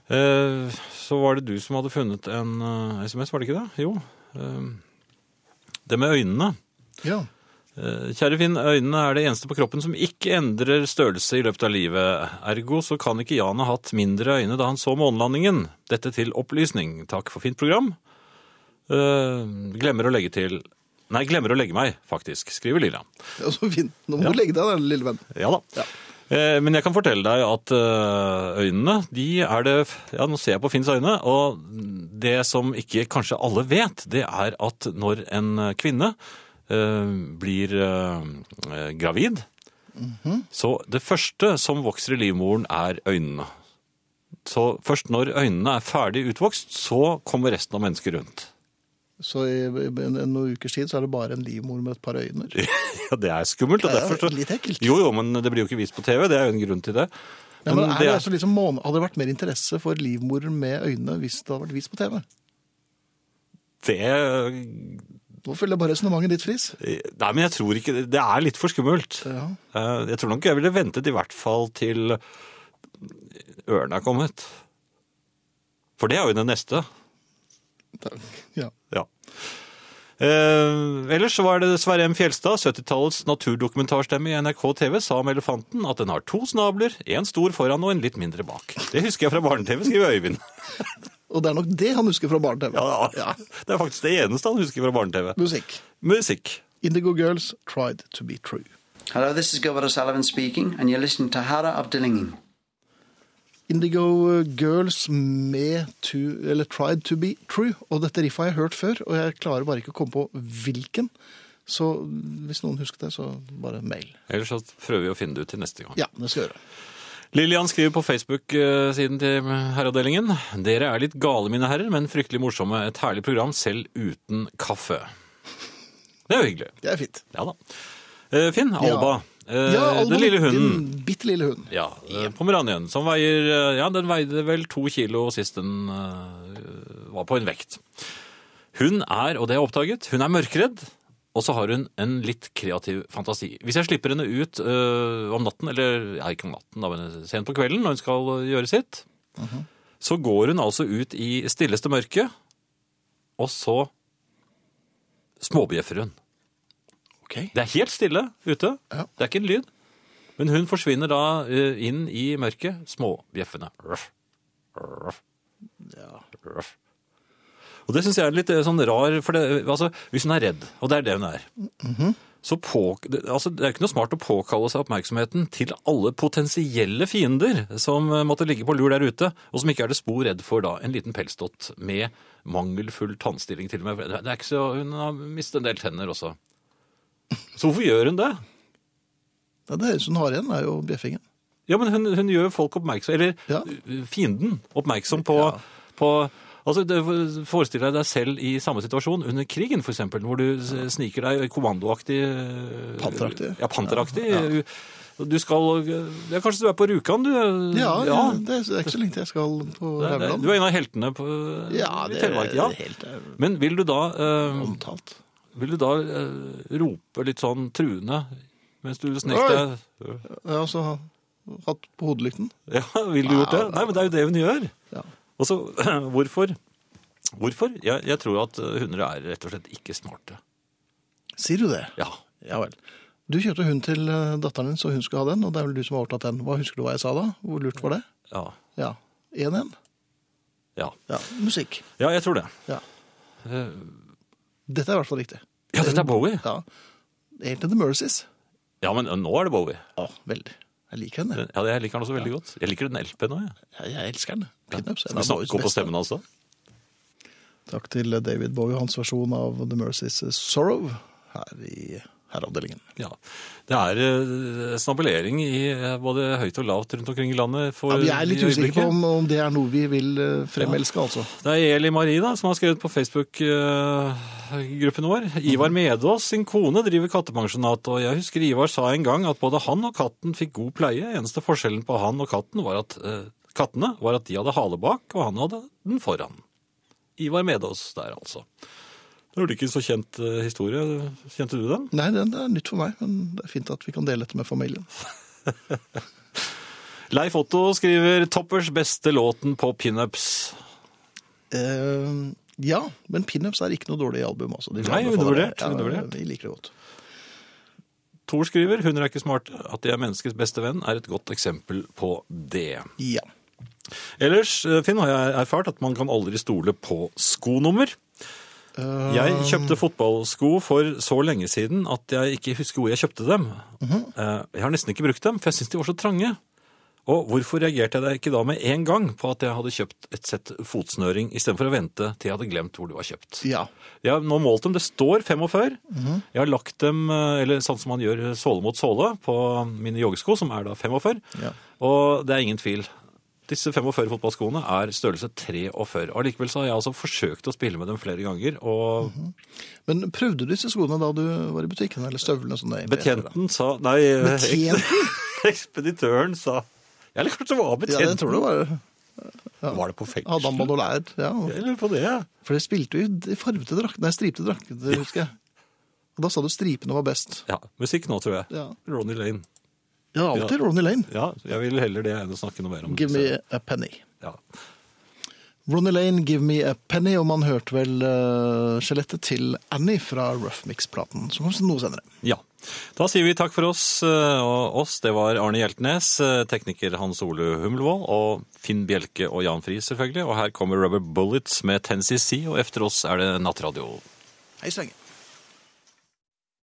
C: Eh, Så var det du som hadde funnet en eh, SMS, var det ikke det? Jo. eh, Det med øynene.
B: Ja.
C: Eh, Kjære Finn, øynene er det eneste på kroppen som ikke endrer størrelse i løpet av livet. Ergo så kan ikke Jan ha hatt mindre øyne da han så månelandingen. Dette til opplysning. Takk for fint program. Eh, glemmer å legge til Nei, glemmer å legge meg, faktisk, skriver Lilla.
B: ja så fint. Altså, Nå må du legge deg, da, lille venn.
C: Ja da. Eh, Men jeg kan fortelle deg at eh, øynene, de er det Ja, nå ser jeg på Finns øyne, og det som ikke kanskje alle vet, det er at når en kvinne eh, blir eh, gravid,
B: Mhm.
C: så det første som vokser i livmoren, er øynene. Så først når øynene er ferdig utvokst, så kommer resten av mennesket rundt.
B: Så i, i en, en, noen ukers tid så er det bare en livmor med et par øyne.
C: Ja, det er skummelt. og
B: Det er
C: derfor så...
B: litt ekkelt.
C: Jo, jo, men det blir jo ikke vist på TV. Det er jo en grunn til det.
B: Ja, men
C: Men
B: er det altså liksom måne, hadde det vært mer interesse for livmorer med øyne hvis det hadde vært vist på TV?
C: det
B: Nå følger jeg bare resonnementet ditt, Friis.
C: Nei, men jeg tror ikke Det er litt for skummelt.
B: Ja.
C: Eh, Jeg tror nok jeg ville ventet i hvert fall til ørene er kommet. For det er jo den neste.
B: Ja.
C: Ja. Eh, ellers så var det Sverre M. Fjelstad, 70-tallets naturdokumentarstemme i NRK TV, sa om elefanten at den har to snabler, en stor foran og en litt mindre bak. Det husker jeg fra barne-TV, skriver Øyvind.
B: Og det er nok det han husker fra barne-TV.
C: Ja, Det er faktisk det eneste han husker fra barne-TV.
B: Musikk.
C: Musikk.
B: Indigo Girls Tried To Be True.
E: Hello, this is Gilbert O'Sullivan speaking, and you're listening to Hara of Dillingham.
B: Indigo Girls med to, eller Tried To Be True. Og dette riffet har jeg hørt før, og jeg klarer bare ikke å komme på hvilken. Så hvis noen husker det, så bare mail.
C: Ellers så prøver vi å finne det ut til neste gang.
B: Ja, det skal jeg gjøre.
C: Lillian skriver på Facebook-siden til herreavdelingen. Dere er litt gale, mine herrer, men fryktelig morsomme. Et herlig program, selv uten kaffe. Det er jo hyggelig.
B: Det er fint.
C: Ja da. Eh, Finn, Alba. Eh,
B: Alba,
C: den lille hunden.
B: Den bitte lille hunden.
C: Ja, eh, Pomeranien, som veier eh, Ja, den veide vel to kilo sist den eh, var på en vekt. Hun er, og det er oppdaget, hun er mørkredd, og så har hun en litt kreativ fantasi. Hvis jeg slipper henne ut eh, om natten, eller ja, ikke om natten, da, men sent på kvelden når hun skal gjøre sitt,
B: Mhm.
C: så går hun altså ut i stilleste mørke, og så småbjeffer hun.
B: Ok.
C: Det er helt stille ute.
B: Ja.
C: Det er ikke en lyd. Men hun forsvinner da eh, inn i mørket, småbjeffende. Ruff, ruff, ruff. Og det syns jeg er litt eh, sånn rar, for det, altså, hvis hun er redd, og det er det hun er så på, det- altså, Det er jo ikke noe smart å påkalle seg oppmerksomheten til alle potensielle fiender som eh, måtte ligge på lur der ute, og som ikke er det spor redd for da en liten pelsdott med mangelfull tannstilling til og med. Det er ikke så, Hun har mistet en del tenner også. Så hvorfor gjør hun det?
B: Ja, det høres ut som hun har igjen, er jo bjeffingen.
C: Ja, men hun, hun gjør folk oppmerksom, eller
B: Ja.
C: uh, fienden oppmerksom på, på Altså, det- Forestill deg deg selv i samme situasjon under krigen, for eksempel, hvor du s- sniker deg kommandoaktig uh,
B: Panteraktig.
C: Ja, panteraktig. Uh, Du skal uh, ja, Kanskje du er på Rjukan, du? uh,
B: Ja, Det, er ikke så lenge til jeg skal på
C: Det- det-
B: Rauland.
C: Du er en av heltene på, uh,
B: Ja,
C: i
B: det
C: Telemark. Ja.
B: er helt eh,
C: Men vil du da, uh,
B: omtalt.
C: vil du da uh, rope litt sånn truende mens du snek
B: Oi!
C: deg
B: Jeg har også hatt på hodelykten.
C: Ja, vil du gjort det? Nei, men det er jo det hun gjør.
B: Ja.
C: Og så, hvorfor? Hvorfor? Jeg, jeg tror at eh, hunder er rett og slett ikke smarte.
B: Sier du det?
C: Ja.
B: Ja vel. Du kjøpte hund til eh, datteren din, så hun skulle ha den, og det er vel du som har overtatt den. Hva Husker du hva jeg sa da? Hvor lurt var det?
C: Ja.
B: Ja. 1-1.
C: Ja,
B: Ja. Musikk.
C: ja jeg tror det.
B: Ja.
C: Eh,
B: Dette er i hvert fall riktig.
C: Ja, dette er Bowie.
B: Ja. Helt til The Mercies.
C: Ja, men eh, nå er det Bowie.
B: Ja, veldig. Jeg liker henne.
C: Ja, Jeg liker den også veldig godt. Jeg liker den LP-en òg, jeg.
B: Jeg, jeg elsker henne. Pinups.
C: Skal vi snakke på stemmen altså?
B: Takk til David Bowie og hans versjon av The Mercies' Sorrow her i herreavdelingen.
C: Ja. Det er eh, snabelering i eh, både høyt og lavt rundt omkring i landet. For,
B: Ja, vi er litt
C: i
B: usikre på
C: øyeblikket.
B: om, om det er noe vi vil eh, fremelske, altså.
C: Det er Eli Marie da, som har skrevet på Facebook-gruppen vår. Ivar Medås, sin kone, driver kattepensjonat, og jeg husker Ivar sa en gang at både han og katten fikk god pleie. Eneste forskjellen på han og katten var at eh, kattene var at de hadde hale bak, og han hadde den foran. Ivar Medås der, altså. Det var ikke en så kjent eh, historie. Kjente du den?
B: Nei, det det er nytt for meg, men det er fint at vi kan dele dette med familien.
C: Leif Otto skriver 'Toppers beste låten på pinups'.
B: Eh, ja, men pinups er ikke noe dårlig album, altså. De vil
C: Nei,
B: anbefale det.
C: undervurdert, undervurdert.
B: Ja, vi liker det godt.
C: Thor skriver 'Hunder er ikke smarte. At de er menneskets beste venn er et godt eksempel på det'.
B: Ja.
C: Ellers, eh, Finn, har jeg erfart at man kan aldri stole på skonummer. Jeg kjøpte fotballsko for så lenge siden at jeg ikke husker hvor jeg kjøpte dem. Eh, Jeg har nesten ikke brukt dem, for jeg syns de var så trange. Og hvorfor reagerte jeg da ikke da med en gang på at jeg hadde kjøpt et sett fotsnøring istedenfor å vente til jeg hadde glemt hvor de var kjøpt?
B: ja.
C: Jeg har nå målt dem. Det står 45. Jeg har lagt dem, eh, eller sånn som man gjør såle mot såle, på mine joggesko, som er da 45.
B: Ja.
C: Og det er ingen tvil. Disse 45 fotballskoene er størrelse 43. Allikevel så har jeg altså forsøkt å spille med dem flere ganger, og
B: Mhm. Men prøvde du disse skoene da du var i butikken, eller støvlene? som det egentlig heter, da?
C: betjenten sa Nei, eh,
B: Betjenten?
C: ekspeditøren sa Ja, Eller kanskje det var
B: Ja, det
C: betjenten?
B: tror jeg var
C: Var det på fengsel?
B: Adam Manolær. Ja.
C: Jeg lurer på det. jeg.
B: For det spilte jo i farvete drakter, nei, stripte drakter, husker jeg. Og da sa du stripene var best.
C: Ja, Musikk nå, tror jeg.
B: Ja.
C: Ronny Lane.
B: Ja, alltid Ronny Lane.
C: Ja, jeg vil heller det enn å snakke noe mer om
B: Give
C: disse.
B: me a penny.
C: Ja.
B: Ronny Lane, Give Me a Penny, og man hørte vel eh, skjelettet til Annie fra Rough Mix-platen, som kom noe senere.
C: Ja. Da sier vi takk for oss. eh, Og oss, det var Arne Hjeltnes, eh, tekniker Hans Ole Humlevold, og Finn Bjelke og Jan Friis, selvfølgelig. Og her kommer Rubber Bullets med 10cc, og efter oss er det Nattradio.
B: Hei så lenge.